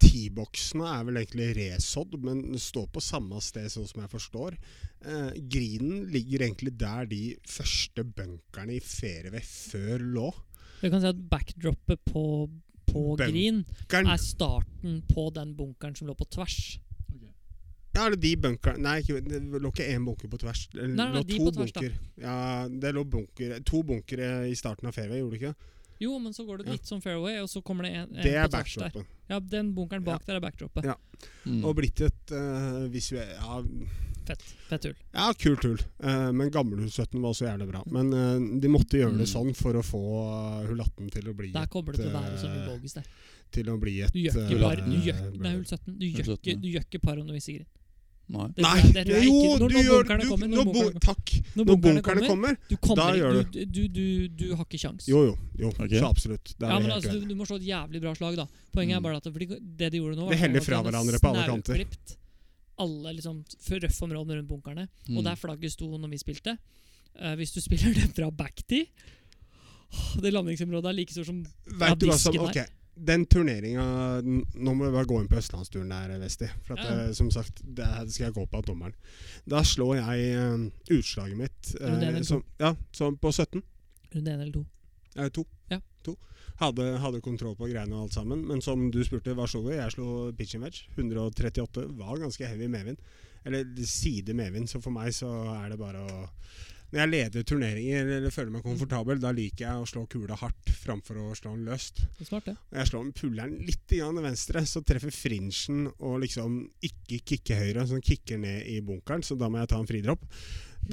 S3: T-boksene er vel egentlig resådd, men står på samme sted, sånn som jeg forstår. Eh, grinen ligger egentlig der de første bunkerne i Ferevei før lå.
S2: Jeg kan si at backdroppet på, på
S3: Den-
S2: green
S3: Bunkeren,
S2: er starten på den bunkeren som lå på tvers.
S3: ja, er det de bunkerne Nei, ikke, det lå ikke én bunker på tvers. Det
S2: Nei, nei,
S3: lå
S2: de
S3: to
S2: på tvers, da.
S3: bunker. Ja, det lå bunker, to bunkere i starten av Ferevei, gjorde det ikke?
S2: Jo, men så går det
S3: Ja.
S2: litt som fairway, og så kommer det en, en
S3: Det er
S2: på tvers der.
S3: backdropen.
S2: Ja, den bunkeren bak der er backdroppet.
S3: Ja.
S1: Mm.
S3: Og blitt et uh, visuelt ja,
S2: Fett. Fett hull.
S3: Ja, kult hull. Eh, men gammelhull-17 var så jævlig bra. Men eh, de måtte gjøre det
S1: Mm.
S3: sånn for å få eh, hull 18 til å bli,
S2: Der kommer det til å være så mye
S3: eh,
S2: bogies der.
S3: til å bli et
S2: Du gjør ikke
S1: eh,
S2: par
S1: eh,
S2: du gjør,
S3: eh,
S2: Nei, hull 17. Du gjør
S1: 17,
S2: ikke,
S1: ja.
S2: du gjør ikke par om du viser grinn.
S1: Nei.
S2: Det
S3: Nei,
S2: tror jeg- det tror jeg
S3: jo,
S2: ikke. Når-
S3: du
S2: når
S3: gjør
S2: bunkerne
S3: du,
S2: kommer, når
S3: når bu-
S2: bunkerne-
S3: Takk! Når bunkerne kommer.
S2: du kommer
S3: da gjør
S2: ikke, du, du, du, du har ikke kjangs.
S3: Jo, jo. jo
S1: Ok.
S3: Så absolutt. Det er
S2: Ja,
S3: vi
S2: men
S3: helt
S2: altså, du,
S3: uenige.
S2: du må slå et jævlig bra slag, da. Poenget er
S1: Mm.
S2: bare at det, fordi det de gjorde nå
S3: Det
S2: var
S3: heller
S2: at
S3: fra
S2: de hadde
S3: hverandre på alle kanter.
S2: snauklipt Alle liksom røffområdene rundt bunkerne.
S3: Mm.
S2: Og der flagget sto når vi spilte. Eh, hvis du spiller det fra backtee Åh, Det landingsområdet er like stort som
S3: Vet du hva som
S2: disken
S3: Ok, den turneringa Nå må vi bare gå inn på østlandsturen der, Vesti. For at,
S2: Ja, ja.
S3: eh, som sagt, det her skal jeg gå på av dommeren. Da slår jeg eh, utslaget mitt eh,
S2: Runde en eller to?
S3: som, ja, som på 17.
S2: runde én eller to.
S3: Eh, to.
S2: Ja.
S3: to. Hadde, hadde kontroll på greiene og alt sammen. Men som du spurte, hva slo du? Jeg slo pitch and wedge. 138. Var ganske heavy medvind. Eller side medvind, så for meg så er det bare å Når jeg leder turneringer eller føler meg komfortabel, da liker jeg å slå kula hardt framfor å slå den løst.
S2: Det er smart, det.
S3: Når jeg slår den pulleren litt grann til venstre, så treffer fringen og liksom ikke kicker høyre, så den kicker ned i bunkeren, så da må jeg ta en fridropp.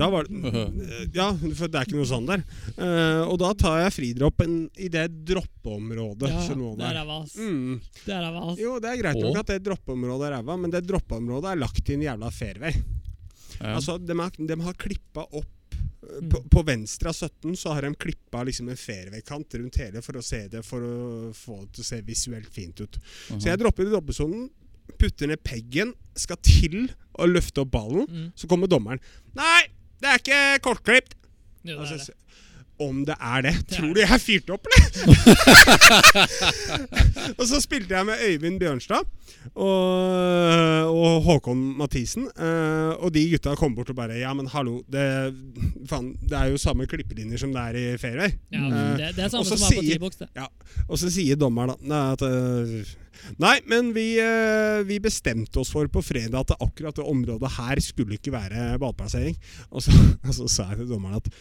S3: Da var det
S1: Mm.
S3: Eh, Ja, for det er ikke noe sånn der. Eh, og da tar jeg fridroppen i det droppeområdet
S2: Ja,
S3: som lå
S2: det er
S3: der.
S2: ræva, ass.
S3: Mm.
S2: Det er ræva, ass.
S3: Jo, det er greit
S1: Og?
S3: nok at det droppeområdet er ræva, men det droppeområdet er lagt i en jævla fairway.
S1: ja.
S3: Altså, de, er, de har klippa opp eh,
S2: Mm.
S3: På, på venstre av 17 så har de klippa liksom en fairway-kant rundt hele for å se det For å få det til å se visuelt fint ut. Så jeg dropper i dobbesonen, putter ned peggen, skal til å løfte opp ballen.
S2: Mm.
S3: Så kommer dommeren. Nei, det er ikke kortklipt!
S2: Jo, det er
S3: Altså,
S2: det.
S3: se- om det er det.
S2: Det er
S3: Tror
S2: det.
S3: du jeg fyrte opp, eller? og så spilte jeg med Øyvind Bjørnstad og, og Håkon Mathisen. eh, og de gutta kom bort og bare Ja, men hallo, det, faen, det er jo samme klippelinjer som det er i fairway.
S2: Ja,
S1: Mm.
S2: det, det er samme
S3: Og så
S2: som er på
S3: sier-
S2: T-boks. det.
S3: Og så sier dommeren da nei, at eh, Nei, men vi, eh, vi bestemte oss for på fredag at akkurat det området her skulle ikke være ballplassering. Og så, og så sa jeg til dommeren at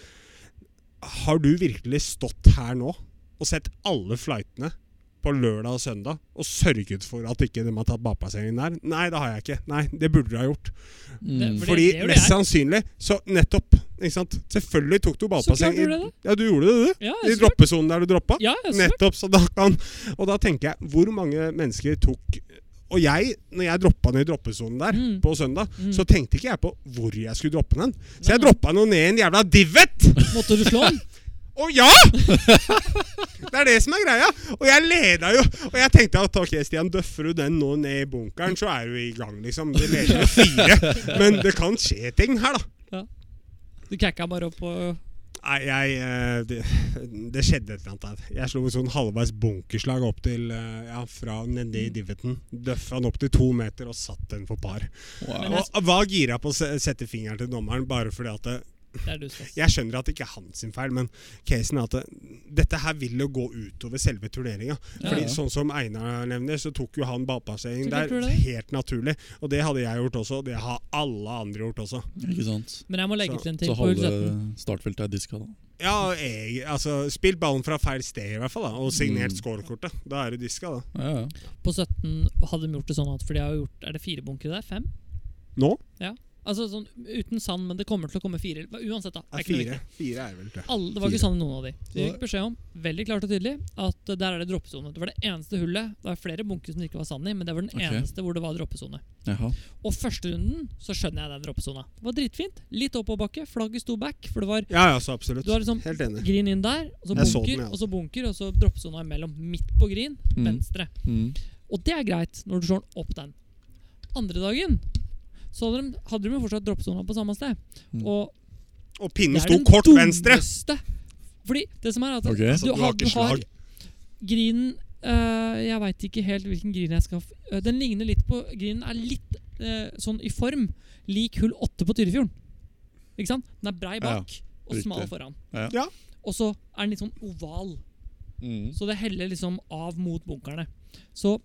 S3: Har du virkelig stått her nå og sett alle flightene på lørdag og søndag og sørget for at ikke de har tatt ballplasseringen der? Nei, det har jeg ikke. Nei, det burde du ha gjort.
S1: Mm.
S2: det- for det-
S3: Fordi
S2: gjorde
S3: mest
S2: jeg.
S3: sannsynlig Så nettopp. Ikke sant? Selvfølgelig tok du
S2: Så klart gjorde
S3: ballplassering.
S2: jeg det.
S3: Ja, du gjorde det, du.
S2: Ja,
S3: I
S2: jeg tror det.
S3: droppesonen der du droppa.
S2: Ja, jeg tror det.
S3: Nettopp, så da kan Og da tenker jeg, hvor mange mennesker tok Og jeg, når jeg droppa ned i droppesonen der
S2: Mm.
S3: på søndag,
S2: Mm.
S3: så tenkte ikke jeg på hvor jeg skulle droppe den. Så
S2: Nei,
S3: jeg
S2: nei.
S3: droppa den jo ned i en jævla divot!
S2: Måtte du slå den?
S3: Og ja! det er det som er greia. Og jeg leda jo. Og jeg tenkte at ok, Stian, døffer du den nå ned i bunkeren, så er du i gang, liksom. Det leder jo fire. Men det kan skje ting her, da.
S2: Du kækka bare opp og
S3: Nei, jeg eh, det, det skjedde et eller annet der. Jeg slo et sånn halvveis bunkerslag opp til eh, Ja, fra nedi
S2: Mm.
S3: divoten. Døffa den opp til to meter og satt den for par.
S2: Men
S1: Wow.
S2: jeg-
S3: Og var gira på å se- sette fingeren til dommeren, bare fordi at det,
S2: Det er du, Stas.
S3: Jeg skjønner at det ikke er hans sin feil, men casen er at det, dette her vil jo gå utover selve turneringa.
S2: Ja,
S3: Fordi
S1: ja.
S3: sånn som Einar nevner, så tok jo han ballplassering
S2: Sikkert
S3: der
S2: tror jeg det.
S3: helt naturlig. Og det hadde jeg gjort også, og det har alle andre gjort også.
S1: Ikke sant.
S2: Men jeg må legge
S3: Så-
S2: til en ting
S1: Så
S2: på hull
S1: halve
S2: 17.
S1: startfeltet er diska, da.
S3: Ja, og jeg, altså Spill ballen fra feil sted, i hvert fall, da, og signert
S1: Mm.
S3: scorekortet. Da er du diska, da.
S1: Ja, ja.
S2: På 17 hadde de gjort det sånn at For de har jo gjort Er det fire bunkere der? Fem?
S3: Nå
S2: Altså sånn uten sand, men det kommer til å komme fire. Uansett, da.
S3: er
S2: ikke noe viktig.
S3: fire. Fire er vel det.
S2: Alle, det var ikke
S3: Fire.
S2: sånn i noen av de. Så vi fikk beskjed om veldig klart og tydelig at eh, der er det droppesone. Det var det eneste hullet. Det var flere bunker som det ikke var sand i, men det var den
S1: Ok.
S2: eneste hvor det var droppesone.
S1: Jaha.
S2: Og første runden så skjønner jeg den droppesona. Det var dritfint. Litt oppoverbakke. Flagget sto back, for det var
S3: Ja, ja, så absolutt.
S2: Du har liksom
S3: Helt enig.
S2: green inn der, og så
S3: Jeg så
S2: bunker,
S3: den, ja.
S2: og så bunker, og så droppesona imellom. Midt på green,
S1: Mm.
S2: venstre.
S1: Mm.
S2: Og det er greit når du slår den opp den. Andre dagen så hadde de, hadde de jo fortsatt droppesona på samme sted.
S1: Mm.
S2: Og det
S3: Og pinnen
S2: er
S3: sto
S2: den
S3: kort venstre!
S2: dummeste. Fordi det som er at
S1: Ok.
S3: Altså, du har ikke slag.
S2: Grinen øh, Jeg veit ikke helt hvilken grin jeg skal f- øh, Den ligner litt på Grinen er litt øh, sånn i form lik hull 8 på Tyrifjorden. Ikke sant? Den er brei
S1: Ja,
S2: bak og smal
S1: riktig.
S2: foran.
S1: Ja.
S3: Ja.
S2: Og så er den litt sånn oval,
S1: Mm.
S2: så det heller liksom av mot bunkerne. Så,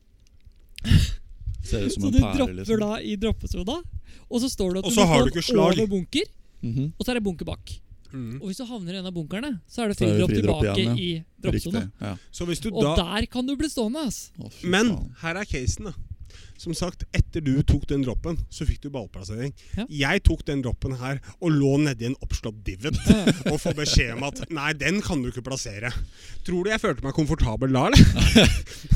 S1: Ser ut som
S2: så
S1: en
S2: du
S1: pære,
S2: dropper
S1: liksom.
S2: da i droppesoda, og så står det at
S3: Og
S2: du
S3: så
S2: må få
S3: har du
S2: den
S3: ikke slag.
S2: over bunker,
S1: Mhm.
S2: og så er det bunker bak.
S3: Mm.
S2: Og hvis du havner i en av bunkerne, så er det
S1: Så er det
S2: fridropp
S1: fridropp
S2: tilbake
S1: igjen,
S2: i droppesona.
S1: Riktig. Ja.
S3: Så hvis du
S2: Og
S3: da
S2: der kan du bli stående, ass.
S1: Å, fy
S3: Men
S1: faen.
S3: her er casen, da. Som sagt, etter du tok den droppen, så fikk du ballplassering.
S2: Ja.
S3: Jeg tok den droppen her og lå nedi en oppslått divot
S2: Ja.
S3: og får beskjed om at nei, den kan du ikke plassere. Tror du jeg følte meg komfortabel da, eller?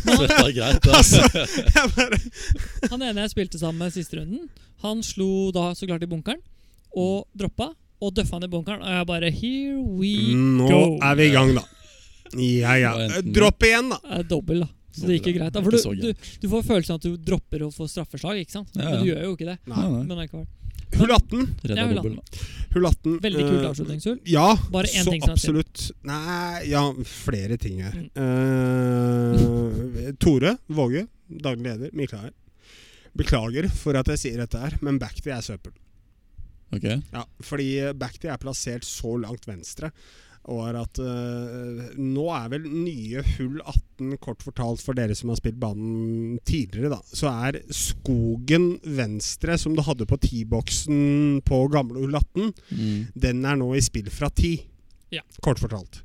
S1: Dette er greit, da.
S3: Altså, jeg bare
S2: Han ene jeg spilte sammen med siste runden, han slo da så klart i bunkeren. Og
S1: Mm.
S2: droppa, og døffa han i bunkeren. Og jeg bare Here we
S3: Nå
S2: Go.
S3: er vi i gang, da. Ja, ja.
S1: Da endte den.
S3: Dropp igjen, da.
S2: er Eh, dobbel, da. Så det gikk jo greit. da. For
S1: Ikke så
S2: du, du, du får følelsen av at du dropper å få straffeslag, ikke sant?
S1: Ja, ja.
S2: Men du gjør jo ikke det.
S1: Nei, nei.
S2: Men likevel.
S3: Hull 18.
S1: Redda
S2: Jeg vil ha
S1: dobbel, da.
S3: Hull 18
S2: Veldig kult
S3: eh,
S2: avslutningshull.
S3: Ja,
S2: Bare én
S3: så
S2: ting som er synd.
S3: absolutt. Nei, ja, flere ting her.
S2: Mm.
S3: Eh, Tore Våge, daglig leder. Mikael. Beklager for at jeg sier dette her, men backty er søppel.
S1: Ok.
S3: Ja, fordi backty er plassert så langt venstre. Og er at eh, Nå er vel nye hull 18, kort fortalt for dere som har spilt banen tidligere, da. Så er skogen venstre, som du hadde på T-boksen på gamle hull 18,
S1: Mm.
S3: den er nå i spill fra 10.
S2: Ja.
S3: Kort fortalt.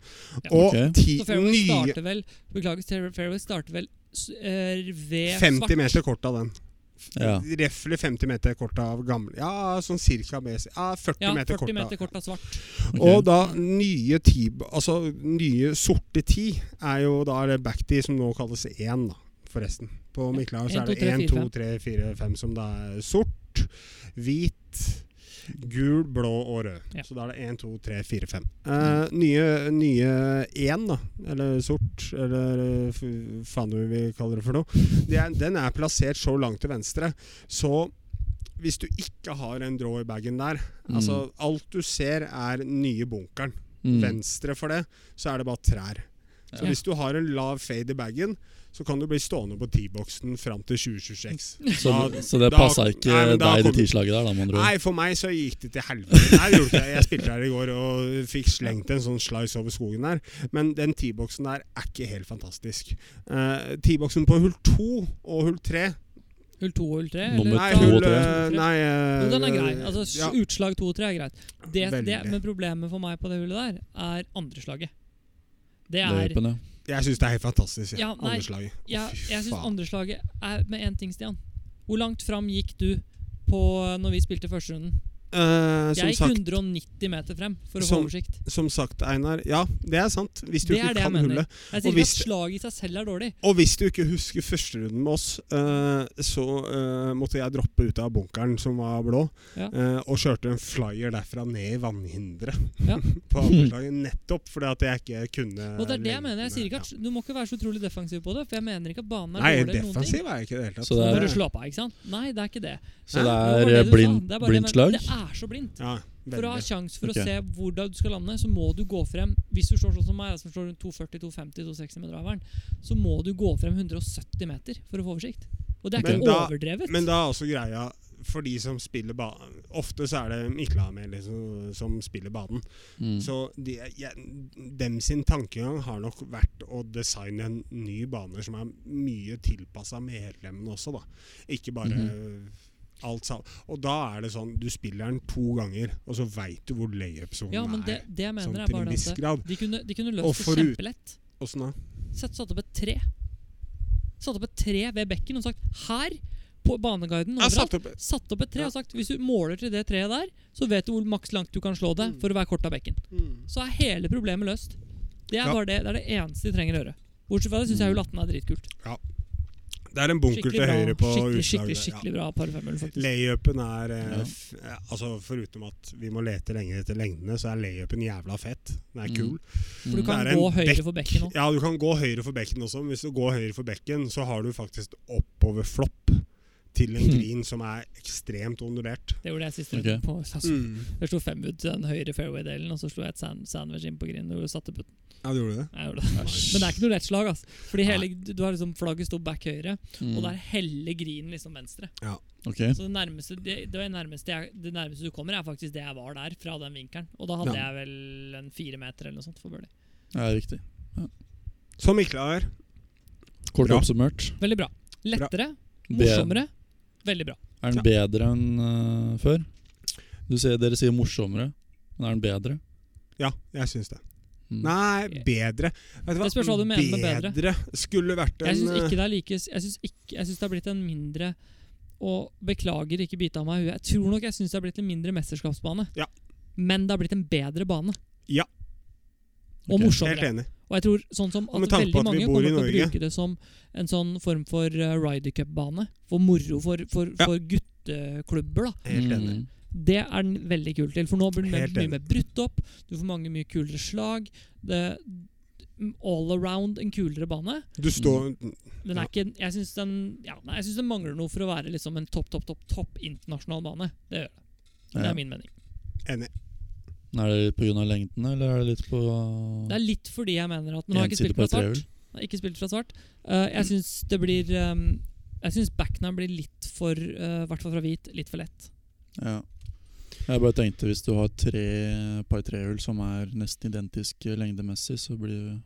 S2: Ja.
S3: Og
S1: Ok.
S3: ti
S2: Så Fairway
S3: nye
S2: starter vel Beklager, Fairway starter vel s- eh, ved
S3: 50
S2: svart.
S3: meter kort av den.
S1: Ja.
S3: Refle 50 meter kort av gamle Ja, sånn cirka BC. Ja, 40
S2: Ja,
S3: meter
S2: 40
S3: kort av
S2: meter kort av svart.
S1: ok.
S3: Og da nye ti Altså nye sorte ti er jo da er det back ti som nå kalles 1, da, forresten. På
S2: Ja.
S3: Mikkelhaug
S2: En,
S3: så er
S2: to,
S3: det
S2: tre,
S3: 1,
S2: fire,
S3: 2, 3, 4, 5 som da er sort, hvit Gul, blå og rød.
S2: Ja. Mm.
S3: Så da er det én, to, tre, fire, fem. Eh, nye- Nye én, da. Eller sort, eller eh, f- faen du vil kalle det for noe. Det er, den er plassert så langt til venstre. Så hvis du ikke har en draw i bagen der Altså Alt du ser, er den nye bunkeren.
S1: Mm.
S3: Venstre for det, så er det bare trær. Så
S1: Ja.
S3: hvis du har en lav fade i bagen, så kan du bli stående på T-boksen fram til 2026.
S1: Så,
S3: Da-
S1: så det
S3: da-
S1: passa ikke
S3: Nei, men da
S1: deg i det
S3: kom-
S1: tislaget der, da, med andre ord.
S3: Nei, for meg så gikk det til helvete. Nei, det gjorde ikke det. Jeg spilte her i går og fikk slengt en sånn slice over skogen der. Men den T-boksen der er ikke helt fantastisk. Eh, T-boksen på hull to og hull tre
S2: Hull to og hull tre?
S1: Nummer
S3: Nei,
S1: to og
S3: hull
S1: tre.
S3: eh, Nei eh,
S2: Jo, den er grei. Altså, s-
S3: ja.
S2: Utslag to og tre er greit. Det, det,
S3: Veldig.
S2: men problemet for meg på det hullet der, er andreslaget.
S1: Det
S2: Det er
S1: hjelper, det.
S3: Jeg syns det er helt
S2: Ja,
S3: fantastisk. Ja,
S2: nei.
S3: Andreslaget. Å,
S2: Jeg,
S3: fy
S2: jeg syns
S3: faen.
S2: andreslaget er med én ting, Stian. Hvor langt fram gikk du på eh, når vi spilte første runden?
S3: Eh, som
S2: Jeg gikk
S3: sagt,
S2: 190 meter frem for å få
S3: Som-
S2: oversikt.
S3: som sagt, Einar. Ja, det er sant. Hvis du
S2: Det er
S3: ikke
S2: det jeg
S3: kan
S2: mener. Jeg
S3: hullet. Og
S2: sier ikke at
S3: hvis-
S2: slaget i seg selv er dårlig.
S3: Og hvis du ikke husker førsterunden med oss, eh, så eh, måtte jeg droppe ut av bunkeren som var blå,
S2: Ja.
S3: eh, og kjørte en flyer derfra ned i vannhinderet
S2: Ja.
S3: på andreslaget. Nettopp fordi at jeg ikke kunne
S2: Og det er det jeg
S3: lengden.
S2: mener. Jeg sier ikke at, Du må ikke være så utrolig defensiv på det, for jeg mener ikke at banen
S3: ja.
S2: er
S3: Nei,
S2: dårlig. eller noen ting.
S3: defensiv er jeg ikke i det hele tatt.
S1: Så det er-
S2: Når du slapper av, ikke sant? Nei, det er ikke det.
S1: Så
S2: Nei,
S1: det
S2: var
S1: er eh,
S2: du sa.
S1: blind,
S2: Det er bare det
S1: blindt
S2: jeg mener.
S1: slag?
S2: Det er så blindt.
S3: Ja,
S2: For å ha
S3: veldig.
S2: sjanse for
S1: Ok.
S2: å se hvor da du skal lande, så må du gå frem Hvis du slår sånn som meg, da, som slår rundt 240, 250, 260 med driveren, så må du gå frem 170 meter for å få oversikt. Og det er
S3: Men
S2: ikke
S3: da-
S2: overdrevet.
S3: Men da er også greia for de som spiller banen Ofte så er det Miklahmer liksom, som spiller banen.
S1: Mm.
S3: Så de, jeg, dem sin tankegang har nok vært å designe en ny bane som er mye tilpassa medlemmene også, da. Ikke bare
S2: Mhm.
S3: alt sammen. Og da er det sånn, du spiller den to ganger, og så veit du hvor layup-sonen
S2: ja, men det,
S3: er.
S2: det jeg mener,
S3: Sånn
S2: er
S3: til en
S2: bare
S3: viss
S2: at
S3: grad.
S2: de kunne, de kunne
S3: Og
S2: løst det
S3: forut-
S2: kjempelett.
S3: Åssen da?
S2: Sett satt opp et tre. Satt opp et tre ved bekken og sagt 'her', på baneguiden
S3: Jeg
S2: overalt.
S3: satte opp
S2: satt opp et tre
S3: Ja.
S2: og sagt hvis du måler til det treet der, så vet du hvor maks langt du kan slå det for å være kort av bekken.
S3: Mm.
S2: Så er hele problemet løst. Det er
S3: Ja.
S2: bare det, det er det eneste de trenger å gjøre. Bortsett fra det syns jeg jo 18 er dritkult.
S3: Det er en bunker til
S2: Skikkelig bra,
S3: høyre på
S2: skikkelig, skikkelig,
S3: utslaget. Ja.
S2: skikkelig bra par femhull, faktisk.
S3: Layupen er eh,
S1: Ja.
S3: f eh, Altså Foruten at vi må lete lenge etter lengdene, så er layupen jævla fett. Den er
S1: Mm.
S3: kul.
S2: For du
S1: Mm.
S2: kan
S3: det er
S2: gå
S3: en
S2: høyre
S3: bekk.
S2: for bekken òg.
S3: Ja, du kan gå høyre for bekken også, men hvis du går høyre for bekken, så har du faktisk oppover flopp til en
S2: Hmm.
S1: Mm.
S3: green som er ekstremt ondulert.
S2: Det gjorde jeg siste
S1: Ok.
S2: runde. på
S3: Mm.
S2: Sassuolo.
S3: Hmm.
S2: Jeg slo femwood til den høyre fairway-delen, og så slo jeg et sand sandwich inn på grinden og satte putten.
S3: Ja, du gjorde det?
S2: Jeg gjorde det. Men det er ikke noe lett slag, ass. Fordi hele, du du har liksom flagget stå back høyre,
S1: Mm.
S2: og der heller grinen liksom venstre.
S1: Ok.
S2: Så det nærmeste, det, det, var det nærmeste jeg, det nærmeste du kommer, er faktisk det jeg var der, fra den vinkelen. Og da hadde
S3: Ja.
S2: jeg vel en fire meter eller noe sånt for birdie.
S1: Ja, riktig.
S3: Som Mikla er.
S1: Kort
S3: Bra.
S1: oppsummert.
S2: Veldig bra. Lettere,
S1: Be-
S2: morsommere, veldig bra.
S1: Er den bedre enn eh, før? Du sier, dere sier morsommere, men er den bedre?
S3: Ja, jeg syns det.
S1: Mm.
S3: Nei, bedre Vet du
S2: Hmm. Det spørs hva du mener med bedre.
S3: skulle vært en
S2: Jeg syns
S3: eh,
S2: ikke det er like Jeg syns ikke- jeg syns det har blitt en mindre Og beklager, ikke bite av meg huet. Jeg tror nok jeg syns det har blitt en mindre mesterskapsbane.
S3: Ja.
S2: Men det har blitt en bedre bane.
S3: Ja.
S2: Og
S1: Ok.
S3: Helt
S2: morsommere.
S3: enig.
S2: Og jeg tror sånn som
S3: Og med
S2: at
S3: tanke på
S2: veldig
S3: at vi
S2: mange kommer
S3: bor i
S2: til å
S3: Norge.
S2: bruke det som en sånn form for eh, Ryder Cup-bane. For moro for, for,
S3: Ja.
S2: for gutteklubber, da.
S3: Helt enig.
S1: Mm.
S2: Det er den veldig kul til. For nå blir den
S3: Helt
S2: mye
S3: enig.
S2: mer brutt opp. Du får mange mye kulere slag. Det, all around en kulere bane.
S3: Du står
S2: Den
S3: Ja.
S2: er ikke, jeg syns den, ja, nei, jeg synes den mangler noe for å være liksom en topp, topp, topp topp internasjonal bane. Det gjør det. Det
S1: Ja.
S2: er min mening.
S3: enig.
S1: Men Er det litt pga. lengden, eller er det litt på
S2: Det er litt fordi jeg mener at Nå har jeg ikke
S1: ensidig på
S2: spilt fra
S1: et
S2: start.
S1: trehjul?
S2: Nei, ikke spilt fra svart. Eh, jeg syns det blir ehm, Jeg syns backnam blir litt for eh, I hvert fall fra hvit, litt for lett.
S1: Ja. Jeg bare tenkte hvis du har tre par trehjul som er nesten identiske lengdemessig, så blir det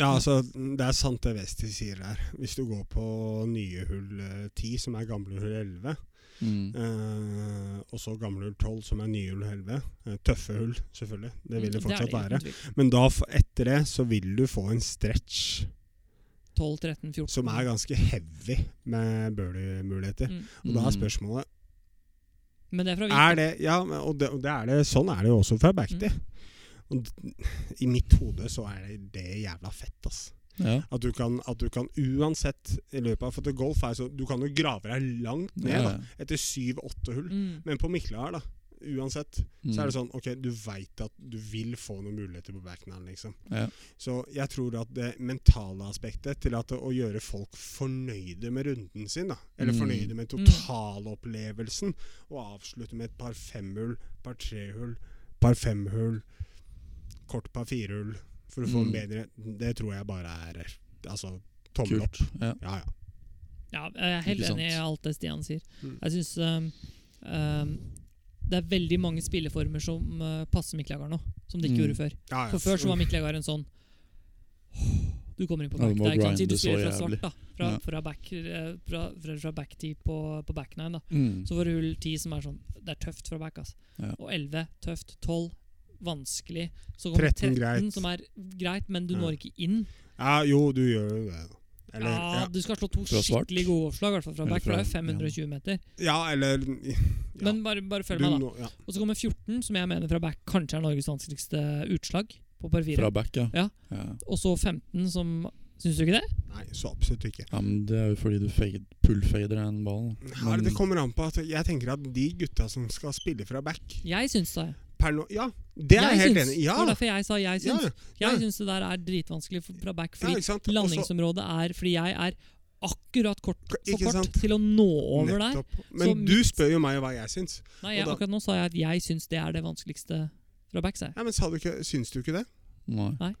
S3: Ja, altså, det er sant det Westi sier der. Hvis du går på nye hull eh, 10, som er gamle hull 11,
S1: mm.
S3: Eh, og så gamle hull 12, som er nye hull 11. Eh, tøffe hull, selvfølgelig. Det
S2: Mm,
S3: vil det fortsatt være. Men da, f- etter det så vil du få en stretch
S2: 12, 13, 14
S3: som er ganske heavy med birdie-muligheter.
S2: Mm.
S3: Og da er
S1: Mm.
S3: spørsmålet
S2: Men det er fra hvit.
S3: Er det Ja, men- og det, og det er det, sånn er det jo også fra backday.
S2: Mm.
S3: Og d- I mitt hode så er det, det jævla fett, ass.
S1: Mm. Ja.
S3: At du kan, at du kan uansett i løpet av For til golf er det så Du kan jo grave deg langt ned
S1: Ja,
S3: da, etter syv-åtte hull.
S2: Mm.
S3: Men på Mikla her, da, uansett,
S1: Mm.
S3: så er det sånn Ok, du veit at du vil få noen muligheter på backnand, liksom.
S1: Ja.
S3: Så jeg tror at det mentale aspektet til at å gjøre folk fornøyde med runden sin, da, eller
S1: Mm.
S3: fornøyde med totalopplevelsen, og avslutte med et par femhull, par trehull, par femhull, kort par firehull for å få en
S1: Mm.
S3: bedre Det tror jeg bare er altså tommel opp.
S1: Kult. Ja.
S3: Ja, ja.
S2: Ja, jeg er helt
S1: Ikke sant?
S2: enig i alt det Stian sier.
S3: Mm.
S2: Jeg syns um, um, det er veldig mange spilleformer som uh, passer Mikkelagar nå, som det ikke
S1: Mm.
S2: gjorde før.
S3: ja, ja.
S2: For før så var Mikkelagar en sånn Du kommer inn på
S1: Ja, du
S2: back
S1: må
S2: der, ikke sant?
S1: grinde
S2: Siden du
S1: så
S2: spiller fra
S1: jævlig.
S2: svart, da. Fra,
S1: Ja.
S2: fra back eh, fra, fra, fra back tee på, på back nine, da.
S1: Mm.
S2: Så får du hull 10 som er sånn Det er tøft fra back, ass.
S1: Ja.
S2: Og 11 tøft. 12 vanskelig. Så kommer 13,
S3: 13 greit.
S2: som er greit, men du
S3: Ja.
S2: når ikke inn.
S3: Ja, jo, du gjør jo det. da. Eller,
S2: ja,
S3: ja.
S2: Du skal slå to
S1: Fra svart?
S2: skikkelig gode oppslag, i hvert fall fra
S1: Eller
S2: back, for det er
S1: fra-
S2: 520 meter.
S3: ja, eller ja.
S2: Men bare, bare følg
S3: Du
S2: meg, da.
S3: nå- ja.
S2: Og så kommer 14, som jeg mener fra back kanskje er Norges vanskeligste utslag på par fire.
S1: Fra back, ja.
S2: Ja.
S1: ja.
S2: Og så 15, som Syns du ikke det?
S3: Nei, så absolutt ikke.
S1: Ja, men Det er jo fordi du fade, pullfader en ball.
S3: Her, det kommer an på at Jeg tenker at de gutta som skal spille fra back
S2: Jeg syns det.
S3: per nå Ja, det er jeg helt
S2: syns.
S3: enig i. Ja,
S2: Det var derfor jeg sa jeg
S3: ja,
S2: syns.
S3: ja,
S2: Jeg syns det der er dritvanskelig for- fra back, fordi
S3: ikke sant? Også-
S2: landingsområdet er Fordi jeg er akkurat kort for
S3: Ikke
S2: kort
S3: sant?
S2: til å nå over der.
S3: nettopp. Men
S2: Så
S3: du
S2: mitt-
S3: spør jo meg hva jeg syns.
S2: Nei, jeg,
S3: Og da-
S2: akkurat nå sa jeg at jeg syns det er det vanskeligste fra back, sa jeg.
S3: Ja, men sa du ikke, Syns du ikke det?
S1: Nei.
S2: Nei.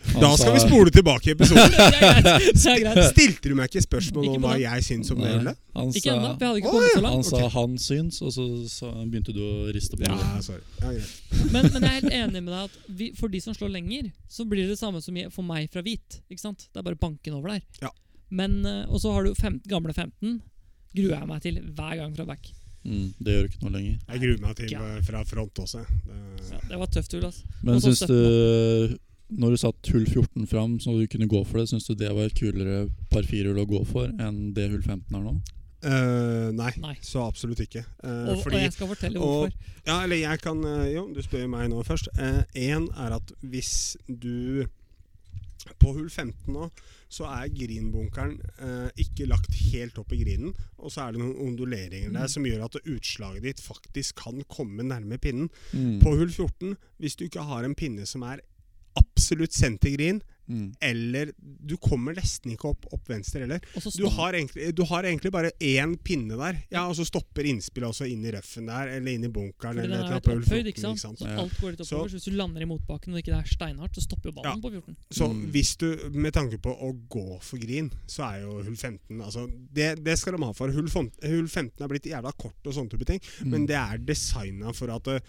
S1: Han
S3: Da skal
S1: sa-
S3: vi spole tilbake i episoden.
S2: Det er greit. Det er greit.
S3: Stilte du meg ikke spørsmål
S2: Ikke
S3: om
S2: på
S3: hva
S2: den.
S3: jeg syns om det?
S1: Nei,
S3: Ole?
S1: Han
S2: Ikke ennå, for
S1: sa,
S2: jeg hadde ikke
S3: Å,
S2: kommet så
S1: han,
S2: langt.
S1: sa
S3: Ok.
S1: han syns, og så, sa- begynte du å riste på hodet.
S3: Ja, sorry. Ja, greit.
S2: Men, men jeg er helt enig med deg at vi, for de som slår lenger, så blir det det samme som jeg- for meg fra hvit. Ikke sant? Det er bare banken over der.
S3: Ja.
S2: Men, eh, Og så har du fem, gamle 15. Gruer jeg meg til hver gang fra back.
S1: Mm, det gjør ikke noe lenger.
S3: Jeg gruer meg til
S2: Ja.
S3: eh, fra front også. Eh, Det,
S2: Ja, det var tøft, Ulas.
S1: Men
S2: Og så
S1: syns du Når du satt hull 14 fram, så du kunne gå for det, syns du det var et kulere par firehull å gå for enn det hull 15 er nå?
S3: Eh, nei,
S2: Nei.
S3: så absolutt ikke. Eh,
S2: Og, og
S3: fordi
S2: jeg skal fortelle
S3: og-
S2: hvorfor.
S3: Ja, eller jeg kan eh, Jo, du spør jo meg nå først. Én er at hvis du På hull 15 nå, så er greenbunkeren eh, ikke lagt helt opp i grinen. Og så er det noen onduleringer der
S2: Mm.
S3: som gjør at utslaget ditt faktisk kan komme nærme pinnen.
S1: Mm.
S3: På hull 14, hvis du ikke har en pinne som er absolutt sendt til green,
S1: Mm.
S3: eller du kommer nesten ikke opp, opp venstre heller.
S2: Og så
S3: Du
S2: stopp.
S3: har, egentlig, du har egentlig bare én pinne der, ja, og så stopper innspillet også inn i røffen der, eller inn i bunkeren.
S2: Fordi den
S3: Eller
S2: er
S3: et
S2: jo
S3: eller annet på
S2: litt
S3: hull
S2: opphøyd, ikke
S3: 14,
S2: sant?
S3: ikke sant?
S2: Så alt går litt
S3: Så-
S2: oppover. Så hvis du lander i motbakken og det ikke er steinhardt, så stopper jo ballen
S3: Ja.
S2: på 14.
S3: Så
S1: Mm.
S3: hvis du, med tanke på å gå for green, så er jo hull 15 altså, det, det skal de ha for. Hull, fem- hull 15 er blitt jævla kort og sånne type ting,
S1: Mm.
S3: men det er designa for at eh,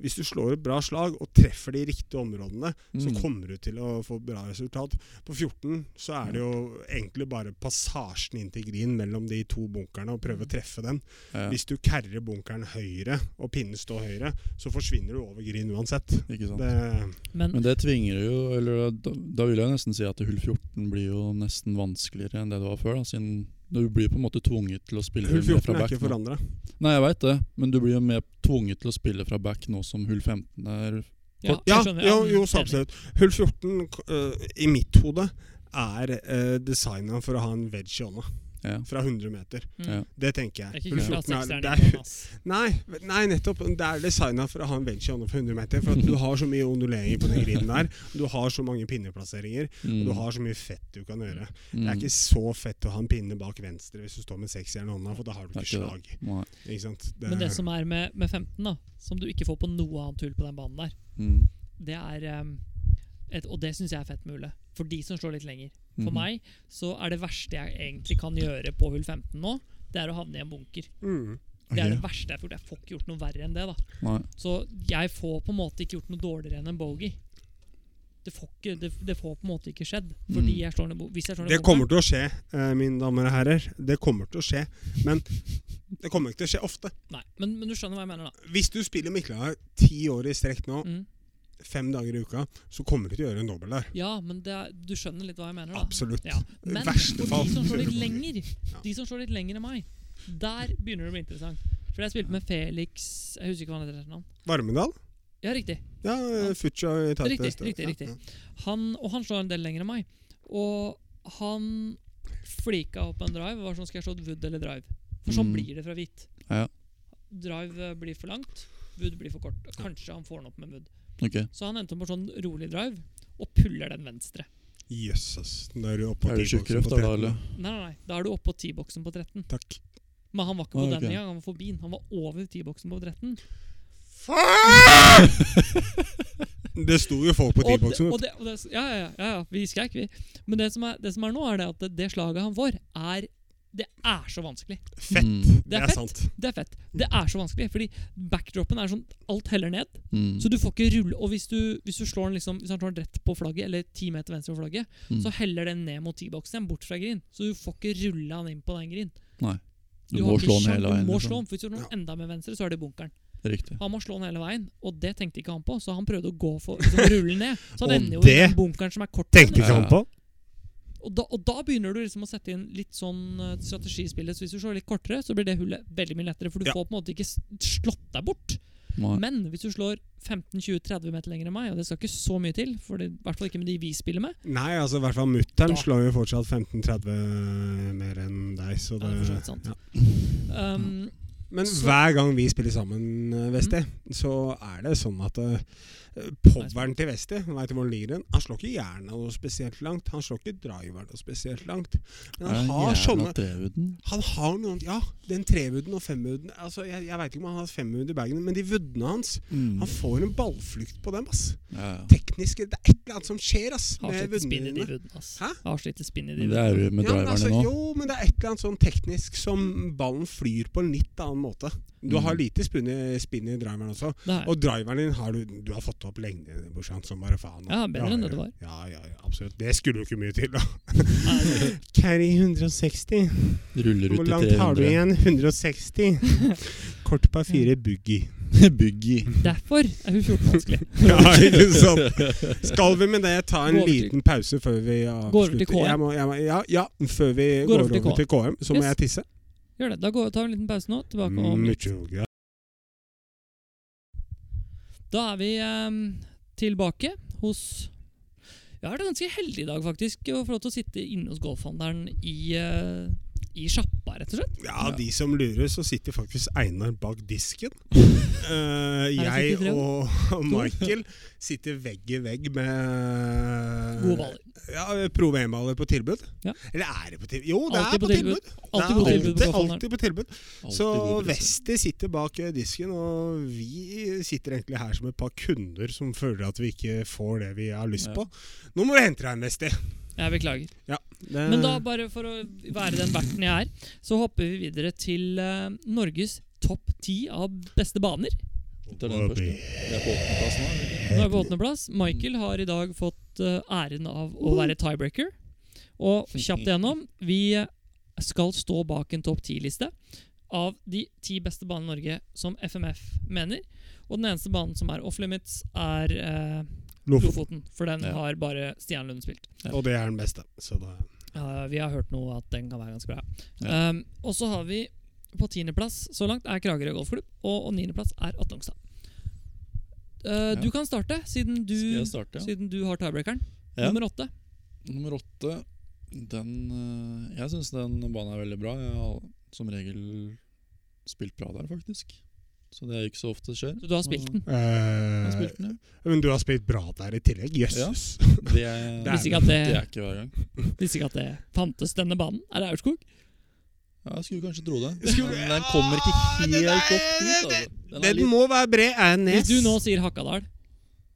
S3: hvis du slår et bra slag og treffer de riktige områdene, så
S1: Mm.
S3: kommer du til å få bra resultat. På 14 så er det jo egentlig bare passasjen inn til green mellom de to bunkerne,
S1: Mm.
S3: og prøve å treffe den.
S1: ja,
S3: Hvis du kerrer bunkeren høyre, og pinnen står høyre, så forsvinner du over green uansett.
S1: Ikke sant.
S3: Det,
S2: Men,
S1: Men det tvinger jo Eller da, da vil jeg nesten si at hull 14 blir jo nesten vanskeligere enn det det var før. Da, siden du blir på en måte tvunget til å spille
S3: hull
S1: mer
S3: 14
S1: fra
S3: er
S1: back.
S3: ikke
S1: nå.
S3: forandra.
S1: Nei, jeg veit det, men du blir jo mer tvunget til å spille fra back nå som hull 15 er
S2: ja,
S3: Ja,
S2: jeg skjønner.
S3: jo,
S2: Ja,
S3: jo, sånn
S2: enig.
S3: så absolutt. Hull 14, øh, i mitt hode, er uh, designa for å ha en wedge i hånda
S1: ja.
S3: fra 100 meter.
S2: Mm.
S1: Ja.
S3: Det tenker
S2: Det er ikke
S3: jeg.
S2: kult at
S3: er,
S2: sekseren
S3: det
S2: er
S3: er,
S2: sånn, ass.
S3: nei, nei, nettopp. Det er designa for å ha en wedge i hånda fra 100 meter. For at du har så mye onduleringer på den griden der. Du har så mange pinneplasseringer.
S1: Mm,
S3: Og du har så mye fett du kan gjøre.
S1: mm,
S3: Det er ikke så fett å ha en pinne bak venstre hvis du står med seksjern i hånda, for da har du
S1: Det er
S3: ikke
S1: ikke
S3: slag.
S1: Nei.
S3: Ikke sant? Det-
S2: Men det som er med, med 15, da, som du ikke får på noe annet hull på den banen der,
S1: Mm,
S2: det er em, et, Og det syns jeg er fett med hullet. For de som slår litt lenger. For
S1: mhm.
S2: meg så er det verste jeg egentlig kan gjøre på hull 15 nå, det er å havne i en bunker.
S3: mm.
S2: Det er
S1: Ok.
S2: det verste jeg får gjort. Jeg får ikke gjort noe verre enn det, da.
S1: Nei.
S2: Så jeg får på en måte ikke gjort noe dårligere enn en bogey. Det får, ikke, det, det får på en måte ikke skjedd. Fordi
S1: Mm.
S2: jeg slår ned bo hvis jeg slår ned
S3: Det kommer til å skje, eh, mine damer og herrer. Det kommer til å skje. Men det kommer ikke til å skje ofte.
S2: bonkeren- Nei, men, men du skjønner hva jeg mener, da.
S3: Hvis du spiller Miklahar ti år i strekk nå,
S2: Mm.
S3: fem dager i uka, så kommer du til å gjøre en dobbel der.
S2: Ja, men det, er- du skjønner litt hva jeg mener, da.
S3: Absolutt.
S2: Ah, Ja. Men
S3: verste
S2: for
S3: fall
S2: de som slår litt
S3: kjører
S2: lenger,
S3: Ja.
S2: de som slår litt lenger enn meg, der begynner det å bli interessant. For jeg spilte med Felix Jeg husker ikke hva han heter til etternavn.
S3: Varmedal?
S2: Ja, riktig.
S3: Ja, eh, Fucha i
S2: Riktig,
S3: Titest.
S2: riktig, riktig.
S3: Ja.
S2: Han, og han slår en del lenger enn meg. Og han flika opp en drive og var sånn Skal jeg slå et wood eller drive? For sånn
S1: Mm.
S2: blir det fra hvitt.
S1: Ja.
S2: drive eh, blir for langt, Wood blir for kort. Kanskje han får den opp med Wood.
S1: Ok.
S2: Så han endte opp med sånn rolig drive og puller den venstre.
S3: Jøsses. Da er du oppe
S1: Er det tjukkrøft da, da, eller?
S2: Nei, nei, nei. Da er du oppå T-boksen på 13.
S3: Takk.
S2: Men han var ikke på
S1: Ah, ok.
S2: den engang, han var forbi. den. Han var over T-boksen på 13.
S3: Det sto jo folk på
S2: Og det-
S3: tidboksen.
S2: og det- og det- Ja, ja, ja, ja, ja, vi skreik, vi. Men det som, er, det som er nå, er det at det, det slaget han får, er Det er så vanskelig.
S3: Fett.
S1: Mm,
S2: Det er fett.
S3: sant.
S2: Det er fett. Det er så vanskelig, fordi backdropen er sånn Alt heller ned.
S1: mm,
S2: Så du får ikke rulle Og hvis du, hvis du slår den liksom Hvis han slår den rett på flagget, eller ti meter venstre for flagget,
S1: Mm.
S2: så heller den ned mot T-boksen igjen, bort fra green. Så du får ikke rulle han inn på den green.
S1: Nei. Du
S2: har
S1: må
S2: ikke
S1: slå den
S2: sjans-
S1: hele veien,
S2: Du må
S1: liksom.
S2: slå den, for hvis du slår den enda mer venstre, så er det bunkeren.
S1: Riktig.
S2: Han må slå den hele veien, og det tenkte ikke han på, så han prøvde å gå for liksom, rulle ned. Så han
S3: Og
S2: ender jo i
S3: det
S2: den bunkeren som er kort.
S3: Tenkte ikke
S1: Ja.
S3: han på.
S2: Og da, og da begynner du liksom å sette inn litt sånn eh, strategi i spillet. Så hvis du slår litt kortere, så blir det hullet veldig mye lettere, for du
S3: Ja.
S2: får på en måte ikke s- slått deg bort.
S1: Nei.
S2: Men hvis du slår 15-20-30 meter lenger enn meg, og det skal ikke så mye til, for det, i hvert fall ikke med de vi spiller med
S3: Nei, altså i hvert fall
S2: Da.
S3: mutter'n slår jo fortsatt 15-30 mer enn deg, så
S2: Ja,
S3: det
S2: det er for så vidt sant.
S3: ja.
S2: um,
S3: Men
S2: Så- Mm.
S3: hver gang vi spiller sammen, eh, Vesti, så er det sånn at uh, poweren til Vesti, veit du hvor den ligger hen, han slår ikke jernet noe spesielt langt. Han slår ikke driveren noe spesielt langt. Men
S1: Er det
S3: han har
S1: jævla
S3: sånne
S1: trevuden?
S3: Han har noen Ja, den trevuden og femmuden altså, Jeg, jeg veit ikke om han har femmud i bagen, men de vuddene hans
S1: Mm.
S3: Han får en ballflukt på dem, ass.
S1: Ja, ja.
S3: Teknisk Det er et eller annet som skjer, ass.
S2: har
S3: med
S2: slitt spinn i
S3: vuddene
S2: de
S3: dine.
S2: vudene, ass.
S3: Hæ?
S2: Har slitt spinn i de
S1: Men Det
S2: vudene.
S1: er jo med
S3: Ja, men
S1: driverne
S3: altså,
S1: nå.
S3: jo, men det er et eller annet sånn teknisk som ballen flyr på en litt annen måte. Du
S1: Mm.
S3: har lite spinn i, spinn i driveren også,
S2: Det er-
S3: og driveren din har du Du har fått opp lengden din, brorsan, som bare faen.
S2: Ja, bedre enn det det var.
S3: Ja, ja, ja, absolutt. Det skulle jo ikke mye til, da.
S2: Nei, det-
S3: Carry 160.
S1: Ruller
S3: Hvor
S1: ut i
S3: langt har du
S1: 300.
S3: igjen? 160. Kort par fire boogie.
S1: Byggi.
S2: Derfor er hun 14 vanskelig.
S3: Ja, ikke sant? Skal vi med det ta en
S2: Gå over til-
S3: liten pause før vi avslutter?
S2: Går over til KM.
S3: Jeg må, jeg må, ja, ja, før vi går, over til, KM, så må
S2: Yes.
S3: jeg tisse. Mm,
S2: Gjør det. Da går, tar vi en liten pause nå. Tilbake om litt.
S3: Mucho gra-
S2: Da er vi ehm, tilbake hos Jeg har vært ganske heldig i dag, faktisk, å få lov til å sitte inne hos golfhandleren i, eh, i sjappa, rett og slett.
S3: Ja,
S1: Ja.
S3: de som lurer, så sitter faktisk Einar bak disken. Eh,
S2: Her
S3: jeg
S2: sitter tre.
S3: og Michael sitter vegg i vegg med
S2: Gode baller.
S3: Ja, Pro VM-baller på tilbud.
S2: Ja.
S3: Eller er det på tilbud? Jo, det
S2: Alltid
S3: er
S2: på
S3: på
S2: tilbud.
S3: tilbud.
S2: Alltid
S3: Det er
S2: god tilbud på
S3: alltid,
S2: golfhandleren.
S3: alltid på tilbud.
S1: Alltid
S3: Så
S1: god pris.
S3: Westi sitter bak eh, disken, og vi sitter egentlig her som et par kunder som føler at vi ikke får det vi har lyst
S1: Ja.
S3: på. Nå må du hente deg en, Westi.
S2: Jeg beklager.
S3: Det-
S2: Men da, bare for å være den verten jeg er, så hopper vi videre til eh, Norges topp ti av beste baner.
S1: Det er den første. Jeg er på åttendeplass nå. er det ikke?
S2: Nå er vi på åttendeplass. Michael har i dag fått eh, æren av å være tiebreaker. Og kjapt igjennom, vi skal stå bak en topp ti-liste av de ti beste banene i Norge som FMF mener. Og den eneste banen som er off limits, er eh,
S3: Lofoten.
S2: Lofoten. For den
S1: Ja.
S2: har bare Stian Lund spilt.
S3: Og det er den beste. Så da
S2: Ja, vi har hørt noe at den kan være ganske bra. Um, og så har vi på tiendeplass så langt er Kragerø golfklubb, og, og niendeplass er Atlongstad.
S1: Ja.
S2: Uh, Du kan starte, siden du,
S1: Skal jeg starte? ja?
S2: siden du har tiebreakeren.
S1: Ja.
S2: Nummer åtte.
S1: Nummer åtte, den eh, Jeg syns den banen er veldig bra. Jeg har som regel spilt bra der, faktisk. Så det er ikke så ofte det skjer.
S2: Så du har spilt den.
S1: Jeg har
S3: eh,
S1: spilt den, ja.
S3: Men du har spilt bra der i tillegg. Jøsses.
S1: Det er,
S3: Det
S2: Visste ikke, at
S1: det
S2: det,
S1: er ikke hver gang.
S2: visste ikke at det fantes, denne banen. Er det Aurskog?
S1: Ja, jeg skulle kanskje tro det.
S3: Skulle-
S1: Men den kommer ikke helt
S3: Ja,
S1: opp
S3: den
S1: dit.
S3: er-
S1: Altså. Den er
S3: Den
S1: litt...
S3: må være bred. Er nes.
S2: Hvis du nå sier Hakadal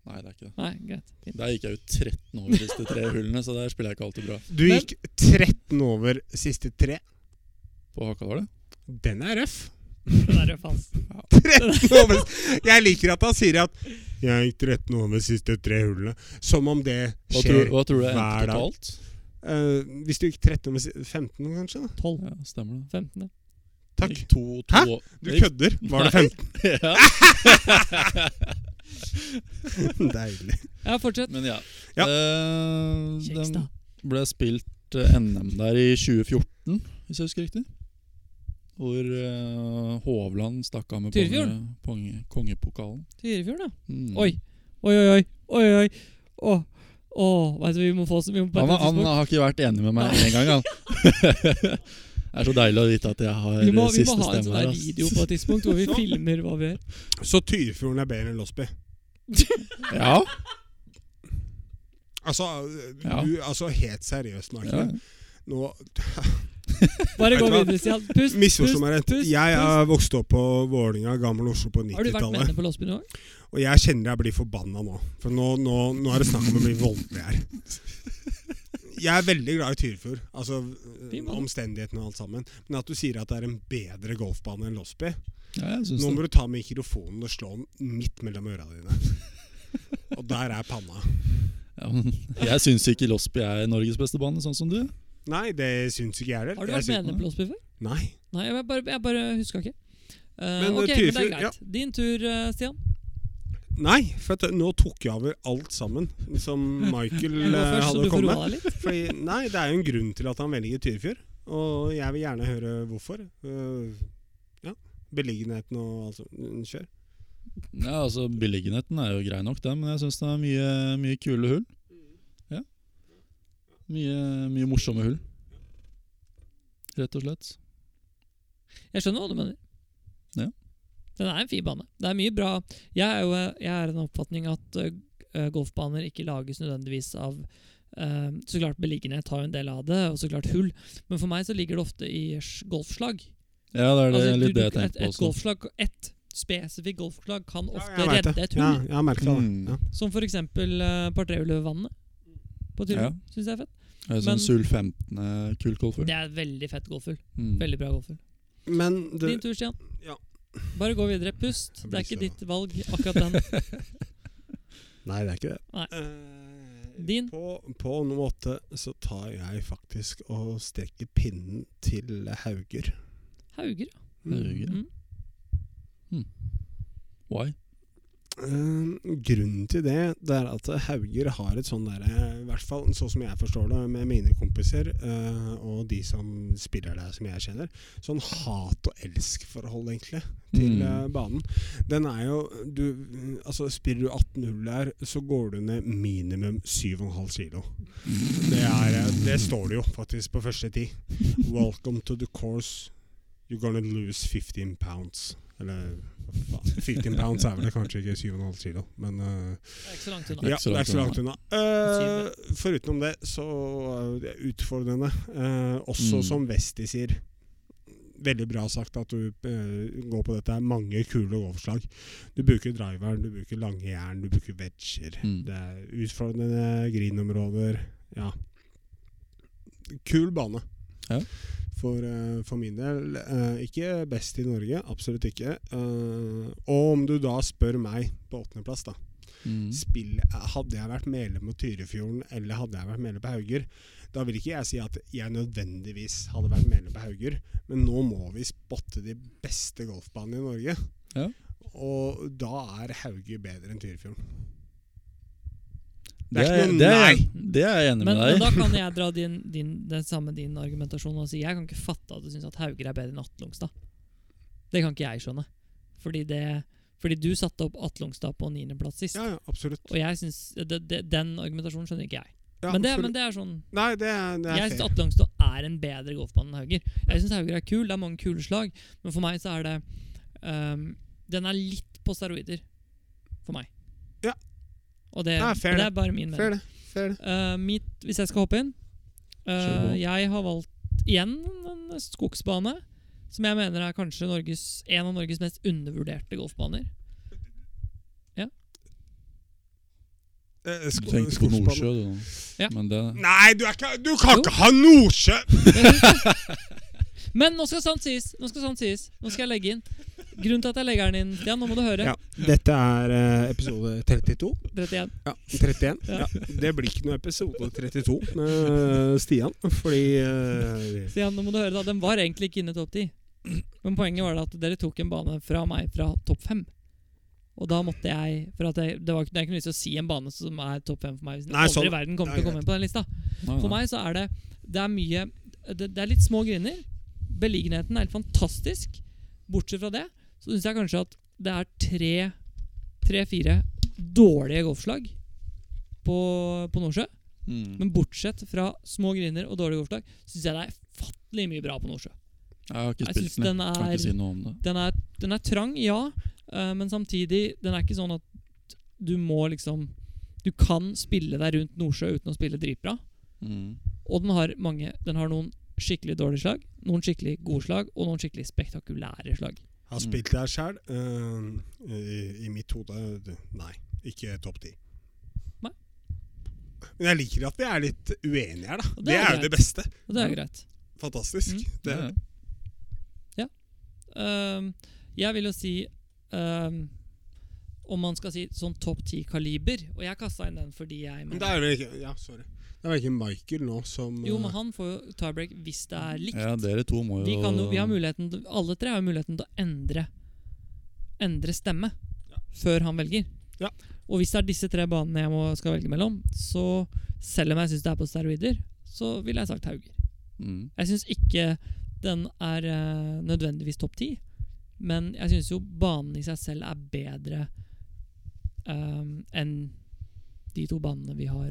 S1: Nei, det er ikke det.
S2: Nei, greit. Fint.
S1: Der gikk jeg jo 13 over de siste tre hullene, så der spiller jeg ikke alltid bra.
S3: Du gikk 13 over siste tre.
S1: På Hakadal, det?
S3: Den er røff.
S2: Den er røff, ass.
S3: 13 over Jeg liker at han sier at 'jeg gikk 13 over siste tre hullene'. Som om det
S1: Hva tror,
S3: skjer
S1: hva tror du jeg
S3: hver
S1: endte
S3: dag.
S1: totalt?
S3: Eh, hvis du gikk 13 over si- 15, kanskje? da?
S2: 12.
S1: Ja, stemmer det.
S2: 15.
S1: Det
S3: Takk.
S1: gikk To, to,
S3: Hæ?
S1: år-
S3: Du
S1: det gikk-
S3: kødder! Var det 15?
S1: Ja.
S3: Deilig.
S2: Ja, fortsett.
S1: Men ja.
S3: Ja.
S1: Eh, den
S2: Kjekstad.
S1: ble spilt eh, NM der i 2014, hvis jeg husker riktig. Hvor eh, Hovland stakk av med
S2: Tyrifjorden?
S1: konge, konge, kongepokalen.
S2: Tyrifjord, da.
S1: Mm.
S2: Oi. Oi, oi, oi. Oi, oi. Åh. Åh, vet du, vi må få vi må på
S1: Han,
S2: et tidspunkt-
S1: han har ikke vært enig med meg
S2: Nei.
S1: engang, han. Det er så deilig å vite at jeg har eh,
S2: Vi må, vi må
S1: siste
S2: ha en
S1: stemme
S2: sånn
S1: her.
S2: der
S1: ass.
S2: video på et tidspunkt hvor
S3: Sånn.
S2: vi filmer hva vi gjør.
S3: Så Tyrfjorden er bedre enn Losby.
S1: Ja,
S3: Altså,
S1: Ja.
S3: du, altså helt seriøst, Mark.
S1: ja.
S3: Nå
S2: Bare gå
S3: Vet du hva?
S2: videre, Stian. Pust,
S3: misforstå meg rett.
S2: pust, pust.
S3: Jeg er vokst opp på Vålinga, gammel Oslo på
S2: Har du vært med
S3: 90-tallet.
S2: henne på Låsby nå?
S3: Og jeg kjenner jeg blir forbanna nå. For nå, nå, nå er det snakk om å bli voldelig her. Jeg er veldig glad i Tyrfjord. Altså
S2: Fin bane.
S3: omstendighetene og alt sammen. Men at du sier at det er en bedre golfbane enn Losby
S1: ja jeg syns
S3: Nå
S1: det.
S3: må du ta mikrofonen og slå den midt mellom øra dine. Og der er panna.
S1: Ja, men jeg syns ikke Losby er Norges beste bane, sånn som du.
S3: Nei, det syns ikke jeg heller.
S2: Har du
S3: Jeg
S2: vært med
S1: sitter
S2: henne
S1: med.
S2: på Låsby før?
S3: syns- Nei.
S2: Nei, jeg bare, jeg bare huska ikke. Eh, ok,
S3: Men, eh,
S2: men det er
S3: Tyrifjord, ja.
S2: greit. Din tur, eh, Stian.
S3: Nei, for at nå tok jeg over alt sammen som Michael
S2: Jeg går
S3: eh,
S2: først, så
S3: hadde
S2: du får
S3: kommet
S2: roa deg litt.
S3: Fordi, nei, det er jo en grunn til at han velger Tyrifjord. Og jeg vil gjerne høre hvorfor. Øh, ja, Beliggenheten og alt sånt. Mm, Kjør.
S1: Ja, altså Beliggenheten er jo grei nok, den, men jeg syns det er mye, mye kule hull.
S2: Mm.
S1: Ja. Mye, mye morsomme hull. Rett og slett.
S2: Jeg skjønner hva du mener.
S1: Ja.
S2: Den er en fin bane. Det er mye bra Jeg er jo eh, jeg er av den oppfatning at eh, eh, golfbaner ikke lages nødvendigvis av eh, Så klart beliggenhet har jo en del av det, og så klart hull. Men for meg så ligger det ofte i sj- golfslag.
S1: Ja, det er det,
S2: Altså, du-
S1: litt det jeg
S2: du- et,
S1: tenkte på
S2: et
S1: også.
S2: golfslag, ett spesifikt golfslag kan
S3: Ja,
S2: ofte
S3: jeg vet
S2: redde
S3: det.
S2: et
S3: Ja,
S2: hull.
S3: jeg har merket det.
S1: Mm.
S3: Ja.
S2: Som for eksempel uh, Partrehullet-vannet.
S1: Ja.
S2: På Tyrifjord. Syns jeg er fett.
S1: Jeg
S2: men-
S1: syns Hull 15 er kult golfhull.
S2: Det er et veldig fett golfhull.
S1: Mm.
S2: Veldig bra golfhull.
S3: Men det,
S2: Din tur, Stian.
S3: Ja.
S2: Bare gå videre. Pust.
S3: Jeg
S2: Det
S3: blir
S2: er ikke
S3: så-
S2: ditt valg, akkurat den.
S3: Nei, det er ikke det.
S2: Nei.
S3: Eh,
S2: Din.
S3: På, på noen måte så tar jeg faktisk og strekker pinnen til Hauger.
S2: Hauger. ja.
S1: Hauger.
S2: Mm.
S1: Mm. Why?
S3: Eh, grunnen til det, det er at Hauger har et sånn derre I hvert fall sånn som jeg forstår det med mine kompiser eh, og de som spiller der, som jeg kjenner. Sånn hat-og-elsk-forhold, egentlig, til
S1: Mm.
S3: eh, banen. Den er jo du, Altså, spiller du 18-0 her, så går du ned minimum 7,5 kilo.
S1: Mm.
S3: Det, er, eh, det står det jo faktisk på første ti. Welcome to the course. You're gonna lose 15 pounds. Eller hva faen. 15 pounds er vel det kanskje ikke 7,5 kilo, men eh,
S2: Det er ikke så langt unna.
S1: er
S3: ja,
S1: ikke så
S3: det er ikke så
S1: langt
S3: langt unna. Eh, Foruten det, så er det utfordrende. Eh, også
S1: Mm.
S3: som Westi sier. Veldig bra sagt at du eh, går på dette. Det er mange kule overslag. Du bruker driveren, du bruker lange jern, du bruker wedger.
S1: Mm.
S3: Det er utfordrende grinområder. Ja. Kul bane.
S1: Ja.
S3: For, eh, for min del eh, ikke best i Norge. Absolutt ikke. Eh, og om du da spør meg på åttendeplass, da
S1: Mm.
S3: spill, eh, Hadde jeg vært medlem på Tyrifjorden eller hadde jeg vært medlem på Hauger, da vil ikke jeg si at jeg nødvendigvis hadde vært medlem på Hauger, men nå må vi spotte de beste golfbanene i Norge.
S1: Ja.
S3: Og da er Hauger bedre enn Tyrifjorden.
S1: Det,
S3: Det er
S1: er,
S3: ikke noe
S1: det, er, det er jeg enig
S2: Men,
S1: med
S2: men
S1: deg i.
S2: da kan jeg dra din, din, den samme din argumentasjon og si jeg kan ikke fatte at du syns at Hauger er bedre enn Atle Longstad. Det kan ikke jeg skjønne. Fordi, det, fordi du satte opp Atle Longstad på niendeplass sist.
S3: Ja, ja, absolutt.
S2: Og jeg synes, det, det, den argumentasjonen skjønner ikke jeg.
S3: Ja,
S2: men, det,
S3: absolutt.
S2: men det er sånn
S3: Nei, det er, det
S2: Jeg
S3: er
S2: syns
S3: fair.
S2: Atle Langstad er en bedre golfbane enn Hauger. Jeg syns Hauger er kul, det er mange kule slag, men for meg så er det ehm, Den er litt på steroider. For meg.
S3: Ja.
S2: Og det,
S3: Ja, fair
S2: det er bare min mening.
S3: Fair det. Fair det.
S2: Eh, mitt, hvis jeg skal hoppe inn eh,
S1: Kjør på.
S2: Jeg har valgt igjen en skogsbane, som jeg mener er kanskje Norges, en av Norges mest undervurderte golfbaner.
S3: Eh,
S1: Du
S3: sko-
S1: tenkte på
S3: skogsbanen.
S1: Nordsjø, du. nå.
S2: Ja.
S1: Men det
S3: Nei, du, er ikke, du kan
S2: Jo.
S3: ikke ha Nordsjø!
S2: Men nå skal sant sies! Nå skal sant sies Nå skal jeg legge inn. Grunnen til at jeg legger den inn, Stian, nå må du høre.
S3: Ja, dette er eh, episode 32.
S2: 31.
S3: Ja, 31.
S2: Ja.
S3: Ja. Det blir ikke noe episode 32 med Stian, fordi eh,
S2: Stian, nå må du høre da, den var egentlig ikke inne i topp 10. Men poenget var da at dere tok en bane fra meg fra topp 5. Og da måtte jeg For at jeg, det, var, ikke- det er ikke noe vits i å si en bane som er topp 5 for meg. Hvis den
S3: Nei,
S2: aldri i
S3: sånn.
S2: verden kommer
S3: Det
S2: til
S3: er
S2: å komme inn på den lista.
S1: Nei,
S2: For
S1: nei.
S2: meg så er det Det er mye Det, det er litt små griner. Beliggenheten er helt fantastisk. Bortsett fra det så syns jeg kanskje at det er tre tre-fire dårlige golfslag på, på Nordsjø.
S1: Mm.
S2: Men bortsett fra små griner og dårlige overslag, syns jeg det er fattelig mye bra på Nordsjø.
S1: Jeg har ikke
S2: Jeg
S1: spilt
S2: synes
S1: den. jeg.
S2: den
S1: Kan
S2: er
S1: ikke si noe om det.
S2: den er, den er trang, ja, eh, men samtidig Den er ikke sånn at du må liksom Du kan spille deg rundt Nordsjø uten å spille dritbra.
S1: Mm.
S2: Og den har mange Den har noen skikkelig dårlige slag, noen skikkelig gode slag og noen skikkelig spektakulære slag.
S3: Jeg har
S1: Mm.
S3: spilt det her sjøl. i, I mitt hode d- nei. Ikke topp ti.
S2: Nei.
S3: Men jeg liker at vi er litt uenige her, da.
S2: Og det
S3: Det,
S2: er
S3: er jo
S2: greit.
S3: det beste.
S2: Og det er jo greit.
S3: Fantastisk.
S2: Mm.
S3: Det,
S1: Ja, ja.
S2: Ehm, jeg vil jo si ehm, Om man skal si sånn topp ti-kaliber Og jeg kasta inn den fordi jeg
S3: Men det er vel ikke Ja, sorry. Det er vel ikke Michael nå som
S2: Jo, men
S3: eh,
S2: han får jo tiebreak hvis det er likt.
S1: ja, dere to må jo
S2: Vi kan jo, vi har muligheten til- Alle tre har jo muligheten til å endre Endre stemme
S3: Ja.
S2: før han velger.
S3: Ja.
S2: Og hvis det er disse tre banene jeg må, skal velge mellom, så selv om jeg syns det er på steroider, så ville jeg sagt Hauger.
S1: Mm.
S2: Jeg syns ikke den er eh, nødvendigvis topp ti, men jeg syns jo banen i seg selv er bedre eh, enn de to banene vi har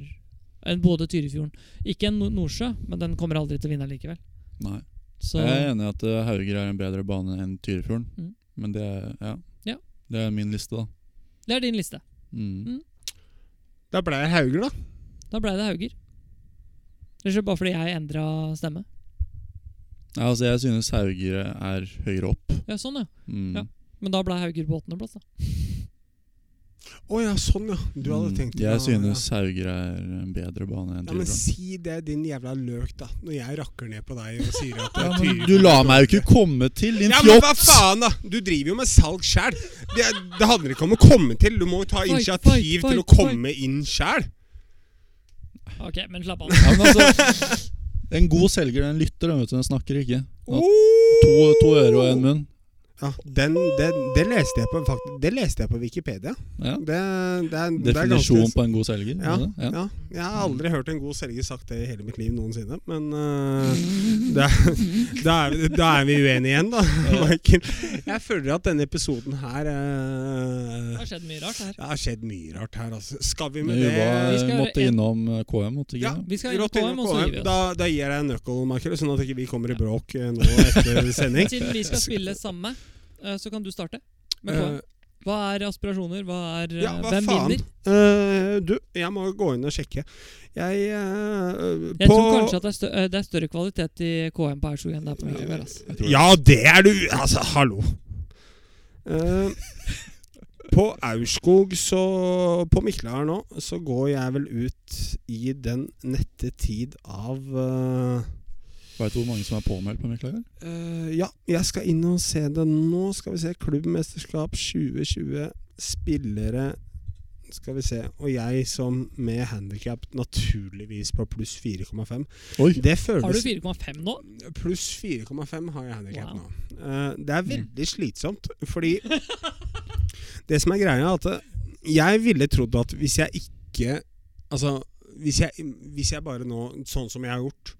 S2: enn både Tyrifjorden Ikke en Nor- Nordsjø, men den kommer aldri til å vinne likevel.
S1: Nei.
S2: Så
S1: Jeg er enig i at eh, Hauger er en bedre bane enn Tyrifjorden,
S2: Mm.
S1: men det er, ja.
S2: Ja.
S1: det er min liste, da.
S2: det er din liste.
S1: Mm.
S3: Da ble jeg Hauger, da.
S2: Da ble det Hauger. Rett og slett bare fordi jeg endra stemme.
S1: Ja, altså, jeg synes Hauger er høyere opp.
S2: Ja, sånn, ja.
S1: Mm.
S2: Ja. Men da ble Hauger på åttendeplass, da.
S3: Å ja, sånn, ja. Du hadde
S1: Mm.
S3: tenkt
S1: Jeg
S3: ja,
S1: synes Hauger er en bedre bane enn
S3: ja. ja, men
S1: Tyrifjorden.
S3: si det, din jævla løk, da. Når jeg rakker ned på deg og sier at
S1: Ja,
S3: det er
S1: men
S3: Tyrifjorden
S1: du lar
S3: som
S1: meg jo
S3: dårlig.
S1: ikke komme til, din
S3: Ja, men hva
S1: fjott!
S3: faen, da! Du driver jo med salg sjæl. Det, det handler ikke om å komme til. Du må jo ta
S2: Fight,
S3: initiativ
S2: fight,
S3: til å
S2: fight,
S3: komme inn sjæl.
S2: Ok, men slapp av.
S1: Ja, men altså, en god selger, den lytter, den, vet du, den snakker ikke. Ja, To, to ører og en munn.
S3: Ja, den, den, det, leste jeg på, fakt- det leste jeg på Wikipedia.
S1: Ja.
S3: Det, det er, det er
S1: Definisjon
S3: ganske
S1: på en god selger.
S3: ja,
S1: er det det?
S3: ja. Jeg har aldri hørt en god selger sagt det i hele mitt liv noensinne, men øh, da, da, er, vi- da er vi uenige igjen, da, Michael. Jeg føler at denne episoden her
S2: Det
S3: øh,
S2: har skjedd mye rart her.
S3: Det har skjedd mye rart her, altså. Skal vi med
S1: Vi
S3: det
S1: var,
S2: Vi skal
S1: måtte
S2: gjøre en-
S1: innom eh, KM, måtte ikke
S3: Ja,
S1: det?
S2: Vi skal inn
S3: Rått
S2: på KM, og så gir vi oss.
S3: Da, da gir jeg deg en nøkkelmarkør, sånn at ikke vi kommer i bråk eh, nå etter sending.
S2: Men Siden vi skal spille samme, eh, så kan du starte. Med KM.
S3: Eh,
S2: Hva er aspirasjoner? Hva er, eh,
S3: ja, hva
S2: hvem
S3: faen?
S2: vinner?
S3: Eh, du, jeg må gå inn og sjekke. Jeg eh,
S2: Jeg
S3: på-
S2: tror kanskje at det er, stø eh, det er større kvalitet i KM på Eidsvåg enn det er på Mjølner. ass.
S1: Jeg tror det.
S3: Ja, det er du! Altså, hallo. Eh, på Aurskog, så På Mikla her nå, så går jeg vel ut i den nette tid av eh,
S1: Vet du hvor mange som er påmeldt på Miklager?
S3: Eh, ja, jeg skal inn og se det nå. Skal vi se. Klubbmesterskap 2020. Spillere Skal vi se. Og jeg som med handikap naturligvis på pluss 4,5.
S1: Oi!
S3: Det
S2: Har du
S3: føles
S2: 4,5 nå?
S3: Pluss 4,5 har jeg handikap
S2: Wow.
S3: nå. Eh, det er veldig slitsomt, fordi Det som er greia, er at eh, jeg ville trodd at hvis jeg ikke Altså, hvis jeg, hvis jeg bare nå, sånn som jeg har gjort,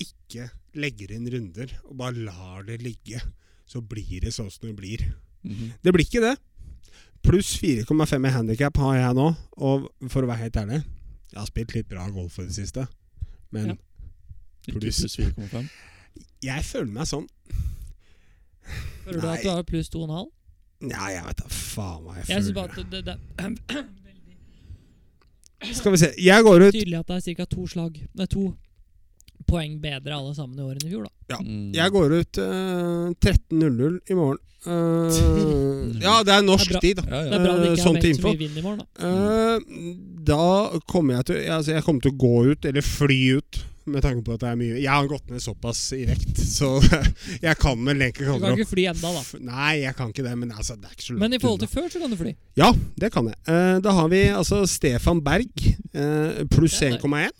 S3: ikke legger inn runder og bare lar det ligge, så blir det sånn som det blir.
S1: Mhm.
S3: Det blir ikke det. Pluss 4,5 i handikap har jeg nå, og for å være helt ærlig Jeg har spilt litt bra golf i det siste, men
S2: Ja.
S1: Ikke
S3: Pluss.
S1: pluss 4,5.
S3: jeg føler meg sånn
S2: Hører du at du har pluss 2,5?
S3: Ja, jeg vet da faen hva jeg,
S2: Jeg synes bare
S3: føler.
S2: at det, det er veldig
S3: Skal vi se. Jeg går ut
S2: tydelig at det er ca. to slag Nei, to poeng bedre alle sammen i år enn i fjor, da.
S3: Ja,
S1: Mm.
S3: Jeg går ut eh, 13.00 i morgen. Eh, ja, det er norsk
S2: Det er bra.
S3: tid, da.
S1: Ja,
S2: Det
S1: ja.
S2: er bra det ikke
S3: Eh,
S2: er
S3: sånn til
S2: meldt så
S3: info.
S2: mye vind i morgen, da.
S3: Eh, da kommer jeg til altså Jeg kommer til å gå ut, eller fly ut, med tanke på at det er mye Jeg har gått ned såpass i vekt, så jeg kan vel egentlig
S2: Du
S3: kalle
S2: kan
S3: det
S2: ikke fly enda, da.
S3: opp. Nei, jeg kan ikke det, men altså, det er ikke så langt
S2: Men i forhold
S3: unna.
S2: til før så kan du fly.
S3: Ja, det kan jeg. Eh, da har vi altså Stefan Berg, eh, pluss
S2: Det er deg.
S3: 1,1.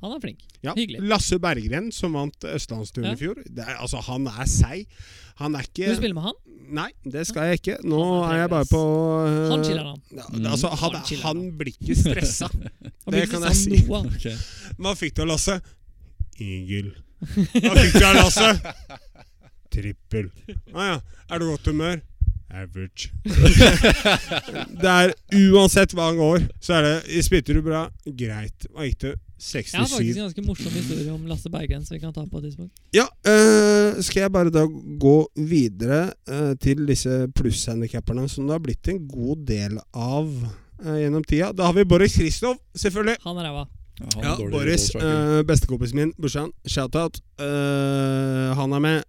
S2: Han er flink.
S3: Ja,
S2: Hyggelig.
S3: Lasse Berggren, som vant eh, Østlandsturen
S2: Ja.
S3: i fjor. Det er, altså, han er seig. Han er
S2: Skal
S3: ikke
S2: du spille med han?
S3: Nei, det skal jeg ikke. Nå
S2: Han er
S3: er jeg bare
S2: fremdeles-
S3: på eh,
S2: Han chiller, han.
S3: ja,
S1: Mm.
S3: altså, han,
S2: Han chiller,
S3: han blir ikke stressa.
S2: Han
S3: det
S2: blir
S3: kan
S2: ikke sånn
S3: jeg si.
S2: noe, han.
S1: Ok.
S3: Hva fikk du av Lasse? Igel. Ah, Hva fikk du av Lasse? Trippel. Å ja. Er du i godt humør? average. det er uansett hva han går, så er det Spytter du bra? Greit. Hva gikk det?
S2: Jeg har faktisk
S3: 67.
S2: en ganske morsom historie om Lasse Bergen som vi kan ta på et tidspunkt.
S3: Ja, øh, skal jeg bare da gå videre øh, til disse plusshandikapperne som det har blitt en god del av øh, gjennom tida? Da har vi Boris Kristov, selvfølgelig.
S2: Han er ræva.
S1: Ja, han er
S3: Ja,
S1: dårlig
S3: Boris,
S1: balltracker.
S3: eh, bestekompisen min, brorsan. Shout-out. Eh, han er med.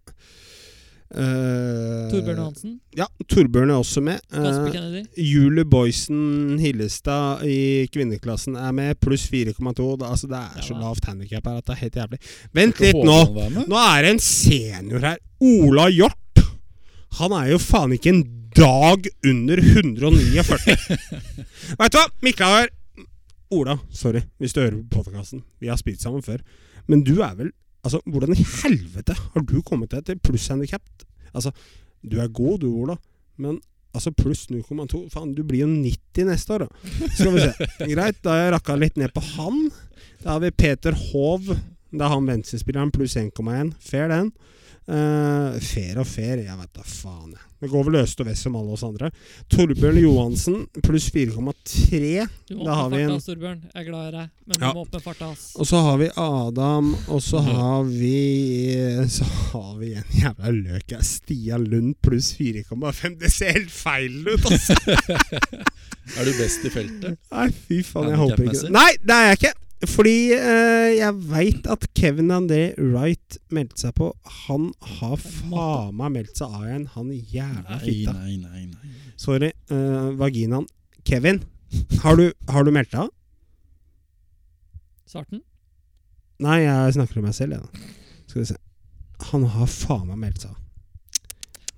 S3: Eh,
S2: Torbjørn Johansen.
S3: Ja, Torbjørn er også med.
S2: Kasper
S3: Eh,
S2: Kennedy.
S3: Julie Boysen Hillestad i kvinneklassen er med, pluss 4,2. Da- Altså, det er så
S2: Ja.
S3: lavt handikap her at det er helt jævlig. Vent
S1: Skal
S3: litt nå!
S1: Haaland være med?
S3: Nå er det en senior her. Ola Hjort. Han er jo faen ikke en dag under 149. Veit du hva, Miklager? Ola, sorry hvis du hører på podkasten. Vi har spilt sammen før. Men du er vel Altså, hvordan i helvete har du kommet deg til plusshandikap? Altså, du er god du, Ola, men altså pluss 0,2 Faen, du blir jo 90 neste år, da. Skal vi se. Greit, da har jeg rakka litt ned på han. Da har vi Peter Hov. Da har han venstrespilleren pluss 1,1. Fair, den. Eh, fair og fair, jeg veit da faen. jeg. Det går vel øst og vest som alle oss andre. Torbjørn Johansen pluss 4,3.
S2: Du
S3: da
S2: må
S3: har
S2: åpne
S3: vi en-
S2: farta, ass, Torbjørn. Jeg er glad i deg, men du
S3: Ja.
S2: må åpne farta, ass.
S3: Og så har vi Adam, og så har vi Så har vi en jævla løk her. Stian Lund pluss 4,5. Det ser helt feil ut, altså!
S1: Er du best i feltet?
S3: Nei, fy faen,
S1: Er det
S3: jeg håper ikke
S1: cap-messig?
S3: Nei, det er jeg ikke! Fordi eh, jeg veit at Kevin André Wright meldte seg på. Han har faen meg meldt seg av igjen, han jævla
S1: Nei,
S3: fitta.
S1: nei, nei. nei.
S3: Sorry, eh, vaginaen. Kevin, har du, har du meldt deg av?
S2: Svarten?
S3: Nei, jeg snakker om meg selv, jeg, da. Skal vi se. Han har faen meg meldt seg av.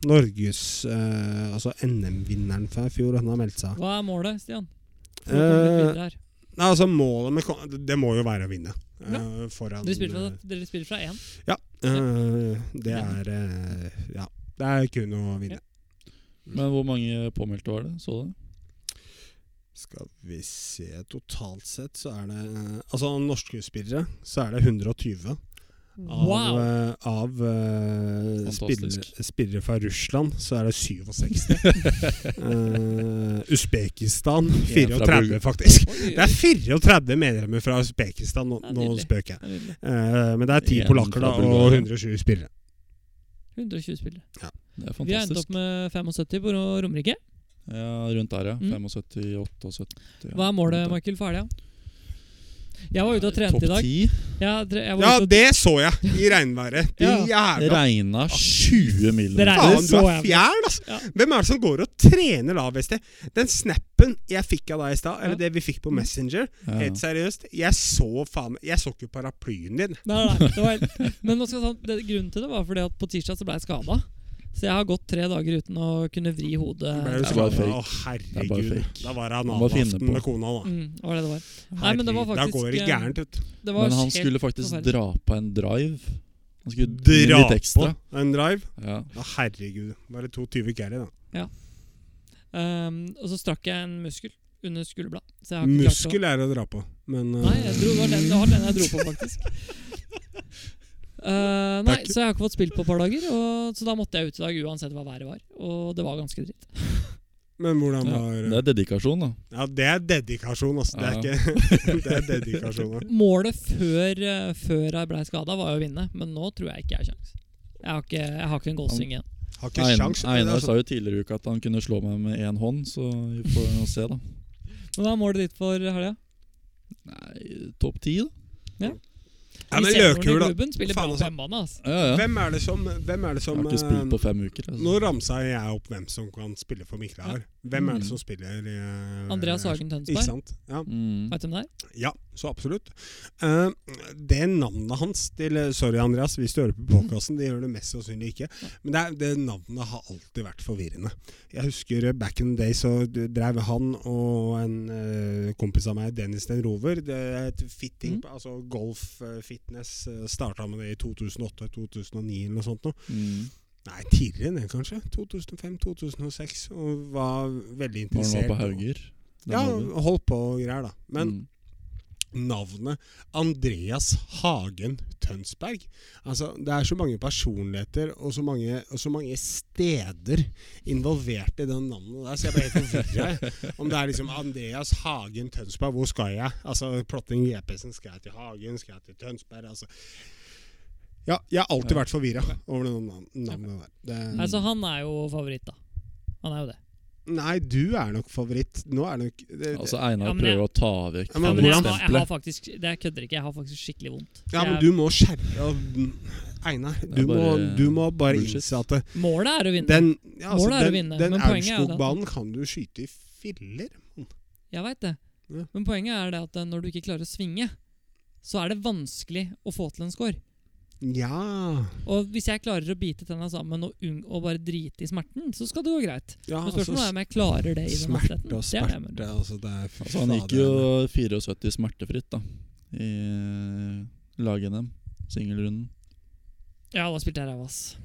S3: Norges eh, Altså NM-vinneren fra i fjor, han har meldt seg av.
S2: Hva er målet, Stian? For å komme litt
S3: Eh,
S2: videre her.
S3: nei, altså, målet med kon- Det må jo være å vinne. eh, foran
S2: Dere spiller
S3: eh,
S2: fra, dere spiller fra én.
S3: Ja. eh, det er eh, Ja. Det er kun å vinne.
S1: Men hvor mange påmeldte var det? Så du?
S3: Skal vi se Totalt sett så er det eh, Altså, norske spillere, så er det 120. Av,
S2: Wow!
S3: eh, av eh, spillere,
S1: Fantastisk.
S3: spillere fra Russland så er det 67. Eh, Usbekistan
S1: En fra
S3: 34,
S1: Bulg-
S3: faktisk.
S2: Oi, oi,
S3: Det er 34 medlemmer fra Usbekistan. Nå,
S2: Ja,
S3: nå
S2: nydelig.
S3: spøker jeg.
S2: oi. Det er nydelig.
S3: Eh, men det er ti
S1: En
S3: polakker
S1: fra
S3: da, og
S1: Bulgaria.
S3: 120 spillere.
S2: 120 spillere.
S1: Det er
S2: Vi har endt opp
S1: fantastisk.
S2: med 75 på Romerike.
S1: Ja, rundt der, ja.
S2: Mm.
S1: 75-78. Ja.
S2: Hva er målet, Michael, for helga? Jeg var ute og trente i dag.
S1: Topp 10.
S2: Jeg, tre- jeg var
S3: Ja,
S2: ute og
S3: det så jeg! I regnværet. De
S1: Det
S3: jævla
S1: regna 20
S2: Det
S1: millimeter.
S2: regnet.
S3: Faen, du
S2: så
S3: er
S2: jævlig.
S3: fjern, altså!
S2: Ja.
S3: Hvem er det som går og trener lav i sted? Den snappen jeg fikk av deg i stad, eller
S2: Ja.
S3: det vi fikk på
S2: Mm.
S3: Messenger,
S1: Ja.
S3: helt seriøst Jeg så faen Jeg så ikke paraplyen din.
S2: Nei, nei, nei, det var helt Men nå skal jeg sånn, det, grunnen til det var fordi at på tirsdag så ble jeg skada. Så jeg har gått tre dager uten å kunne vri hodet.
S3: Ble
S1: det
S3: du
S1: er bare
S3: skadet?
S1: fake. Det er
S3: Å,
S1: bare
S3: herregud.
S1: fake.
S3: Da var det
S1: Man må finne
S3: analaften
S1: på.
S3: med kona, da.
S2: Mm, det var det det var. Nei, men det var
S3: Herregud,
S2: faktisk
S3: da går det
S2: eh,
S3: gærent ut.
S2: det var
S1: Men han
S2: helt
S1: skulle faktisk
S2: forferdelig.
S1: dra på en drive. Han skulle dra
S3: Dra
S1: litt
S3: på
S1: ekstra.
S3: en drive.
S1: Ja.
S3: Å, herregud. Bare 22 gærlig, da.
S2: Ehm, Og så strakk jeg en muskel under skulderbladet. Så jeg har ikke klart å-
S3: Muskel er å dra på, men eh,
S2: Nei, jeg dro, det, var den, det var den jeg dro på, faktisk. Eh, nei,
S3: Takk.
S2: så jeg har ikke fått spilt på et par dager. Og, så da måtte jeg ut i dag uansett hva været var. Og det var ganske dritt.
S3: Men hvordan
S1: Ja.
S3: var eh,
S1: Det er dedikasjon, da.
S3: Ja, det er dedikasjon, altså. Det er,
S1: Ja.
S3: ikke, det er dedikasjon. da.
S2: Målet før, eh, før jeg ble skada, var jo å vinne, men nå tror jeg ikke jeg har kjangs. Jeg har ikke, jeg har ikke en goalsving igjen.
S3: Har ikke
S1: Ein-
S3: sjans. men
S1: Einar
S3: altså,
S1: sa jo tidligere i uka at han kunne slå meg med én hånd, så vi får nå se, da.
S2: Men hva er målet ditt for helga?
S1: Nei, topp ti, da.
S3: ja, men løkhula.
S2: spiller
S3: Faen,
S2: bra
S3: altså.
S2: på hjemmebane, altså.
S1: Ja, ja.
S3: Hvem er det som, hvem er
S1: Jeg
S3: det som
S1: har ikke spilt på
S3: eh,
S1: fem uker. Altså.
S3: Nå ramsa jeg opp hvem som kan spille for Mikla her. Hvem er det som spiller eh,
S2: Mm. Andreas Hagen
S3: Ikke
S2: Tønsberg.
S3: sant? Ja,
S1: Mm.
S2: Vet du hvem det er?
S3: ja så absolutt. Eh, det navnet hans til eh, Sorry, Andreas, hvis du hører på
S2: Mm.
S3: podkasten. Det gjør det mest sannsynlig ikke. Men det, er, det navnet har alltid vært forvirrende. Jeg husker eh, back in the day så d- drev han og en eh, kompis av meg, Dennis den Rover, det er et fitting,
S2: Mm.
S3: på- altså golf, eh, fitness, uh, starta med det i 2008-2009 eller noe sånt. Nå.
S1: Mm.
S3: Nei, tidligere enn det, kanskje. 2005-2006. Og var
S1: Når han
S3: veldig interessert.
S1: var på Hauger. den
S3: Ja,
S1: hadde.
S3: holdt på og greier, da. Men
S1: Mm.
S3: navnet Andreas Hagen Tønsberg. Altså, det er så mange personligheter og så mange, og så mange steder involvert i det navnet der, så jeg ble helt forvirra. jeg. Om det er liksom Andreas Hagen Tønsberg, hvor skal jeg? Altså, Plotting GPS-en, skal jeg til Hagen, skal jeg til Tønsberg? Altså. Ja, jeg har alltid vært forvirra over det navn- navnet der. Det,
S2: Altså, han er jo favoritt, da. Han er jo det.
S3: Nei, du er nok favoritt. Nå er nok eh, det,
S1: Altså Einar
S2: Ja, men jeg-
S1: prøver å ta vekk
S3: Ja, men
S2: jeg,
S3: hvordan-
S2: har, jeg har
S1: favorittstempelet.
S2: faktisk Det jeg kødder ikke, jeg har faktisk skikkelig vondt.
S3: Ja, men
S2: Jeg-
S3: du må skjerpe av- Einar,
S1: er
S3: du, må,
S1: bare
S3: du må bare
S1: bullshit.
S3: innse at det-
S2: Målet er å vinne.
S3: den, ja, altså,
S2: Målet er å
S3: den,
S2: vinne,
S3: den
S2: men poenget er jo det at-
S3: Aurskog-banen kan du skyte i filler.
S2: Jeg veit det.
S3: Ja.
S2: Men poenget er det at eh, når du ikke klarer å svinge, så er det vanskelig å få til en score.
S3: Ja,
S2: Og hvis jeg klarer å bite tenna sammen og, unng- og bare drite i smerten, så skal det gå greit.
S3: ja
S2: Men spørsmålet er om jeg klarer det i den idretten.
S3: Ah, altså smerte og
S2: Det er det jeg
S3: smerte.
S2: mener.
S3: Altså, det er fy
S1: Altså, han gikk
S3: fader.
S1: jo 74 smertefritt da i lag-NM, singelrunden.
S2: Ja, da spilte jeg ræva, ass.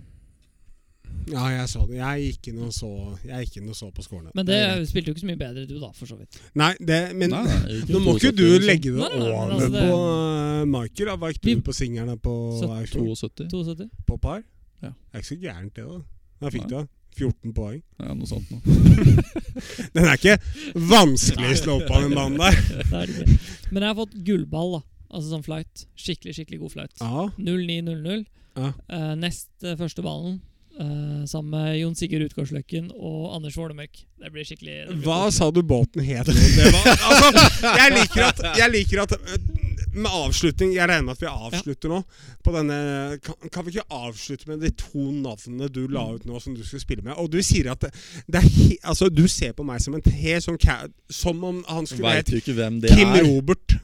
S3: Ja, jeg så det. Jeg gikk inn og så, jeg gikk inn og så på skårene.
S2: Men det spilte jo ikke så mye bedre du, da, for så vidt.
S3: Nei, det, men
S1: Nei, nei,
S3: nå må ikke
S1: 72,
S3: du
S1: liksom.
S3: legge det
S2: Nei, nei, men
S3: over
S2: altså, det-
S3: på uh, Michael. da. Hva gikk du
S2: Vi-
S3: på singerne på
S2: Sytt-
S3: Aurskog?
S1: 72?
S2: 72.
S3: På par?
S1: Ja.
S3: Det er ikke så gærent, det. da Da fikk du
S1: Nei.
S3: 14 poeng.
S1: Ja, noe sånt nå.
S3: Den er ikke vanskelig å slå opp av den banen der.
S2: Det er det ikke. Men jeg har fått gullball, da. Altså sånn flight. Skikkelig, skikkelig god flight.
S3: Ja,
S2: 09.00.
S3: Ja.
S2: Eh, nest eh, første ballen. eh, sammen med Jon Sigurd Utgårdsløkken og Anders Vålemørk. Det blir skikkelig det blir
S3: Hva
S2: koselig.
S3: sa du båten het? nå? Det var, altså, jeg liker at, jeg liker at øh, med avslutning Jeg regner med at vi avslutter nå. På denne, kan, kan vi ikke avslutte med de to navnene du la ut nå som du skulle spille med? Og du sier at det, det er he, altså, du ser på meg som en helt sånn ca- Som om han skulle
S1: Veit jo
S3: hett
S1: ikke hvem det
S3: Kim
S1: er.
S3: Robert.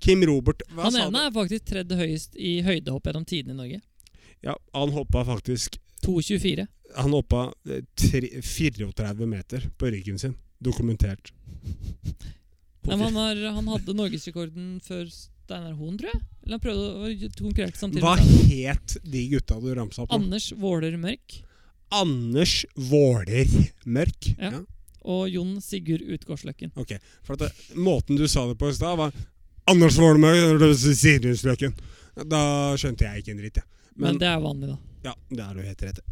S3: Kim Robert. Hva
S2: Han
S3: sa
S2: ene
S3: du?
S2: er faktisk tredje høyest i høydehopp gjennom tidene i Norge.
S3: Ja, han hoppa faktisk
S2: 2,24.
S3: Han hoppa eh, tre- 34 meter på ryggen sin. Dokumentert. På
S2: Nei, men han, har, han hadde norgesrekorden før Steinar Hoen, tror jeg. Eller han prøvde å konkurrere samtidig.
S3: Hva
S2: med
S3: het de gutta du ramsa opp? nå?
S2: Anders Våler Mørk
S3: Anders Våler Mørk.
S2: Ja. og Jon Sigurd Utgårdsløkken.
S3: Ok, for at det, Måten du sa det på i stad, var Anders Våler Mørk Sirusløken. Da skjønte jeg ikke en dritt, jeg.
S2: Men,
S3: Men,
S2: det er vanlig, da.
S3: ja, det er du helt rett i.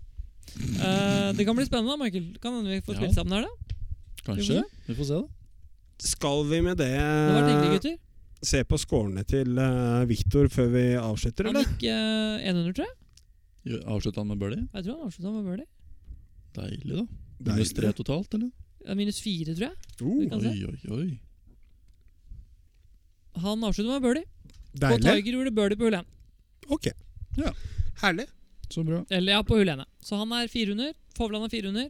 S2: Eh, det kan bli spennende, da, Michael. Kan hende vi får
S1: Ja.
S2: spilt sammen her, da.
S1: Kanskje. Vi får se, da.
S3: Skal vi med det,
S2: Det har vært
S3: Eh,
S2: hyggelig, gutter.
S3: se på skårene til uh, Viktor før vi avslutter,
S2: Han
S3: eller?
S2: gikk eh, 100, tror jeg.
S1: Gjør- Avslutta han med birdie?
S2: Jeg tror han avslutta med birdie.
S1: Deilig, da.
S3: Deilig.
S1: Minus tre totalt, eller?
S2: Ja, Minus fire, tror jeg.
S3: Oh,
S2: Kan se.
S1: Oi, oi, oi.
S2: Han avslutta med birdie. Og
S3: deilig.
S2: Tiger gjorde birdie på hull 1.
S3: Ok.
S1: Ja.
S3: Herlig.
S1: Så bra.
S2: Eller ja, på hull 1. ja. Så han er 400. Fovland er 400.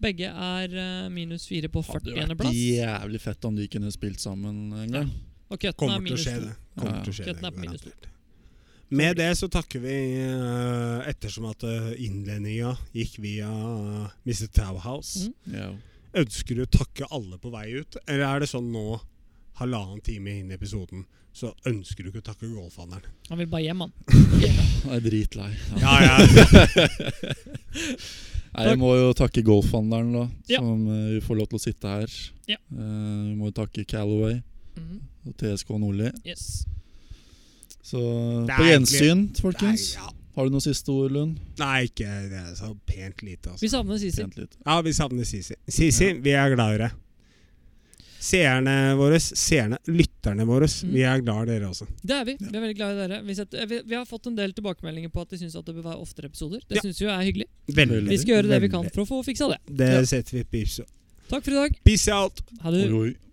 S2: Begge er eh, minus 4 på
S1: Hadde jo
S2: 41.
S1: vært
S2: plass.
S1: jævlig fett om de kunne spilt sammen en gang.
S2: Og cutten er
S3: Kommer til å
S2: minus
S3: skje
S2: 2.
S3: det. Kommer
S1: Ja,
S3: til å skje
S2: Køtten
S3: det,
S2: er på minus
S3: garantert. Med det så takker vi eh, ettersom at eh, innledninga gikk via eh, Mr. Towhouse.
S2: Mm.
S1: Ja.
S3: Ønsker du å takke alle på vei ut, eller er det sånn nå, halvannen time inn i episoden, så ønsker du ikke å takke golfhandleren?
S2: Han vil bare hjem, han.
S1: Jeg er dritlei. Ja.
S3: Ja, ja.
S1: Nei, jeg må jo takke golfhandleren, da,
S2: Ja.
S1: som eh, vi får lov til å sitte her.
S2: Ja.
S1: Eh, vi må jo takke Callaway
S2: Mhm.
S1: og TSK Nordli.
S2: Yes.
S1: Så
S3: Det er
S1: på gjensyn,
S3: Nei,
S1: folkens.
S3: ja.
S1: Har du noen siste ord, Lund?
S3: Nei, ikke det er så pent lite, altså.
S2: Vi savner Sisi.
S1: Pent litt.
S3: Ja, vi savner Sisi. Sisi, vi er glad i deg. Seerne våre, seerne, lytterne våre,
S2: Mm.
S3: vi er glad i dere også.
S2: Det er vi. Vi er veldig glad i dere. Vi, setter, eh, vi, vi har fått en del tilbakemeldinger på at de syns at det bør være oftere episoder. Det
S3: Ja.
S2: synes vi jo er hyggelig.
S1: Veldig.
S2: Vi skal gjøre det vi
S3: Veldig.
S2: kan for å få fiksa det.
S3: Det setter vi pris på.
S2: Takk for i dag.
S3: Peace out.
S2: Ha det.
S1: Oi, oi.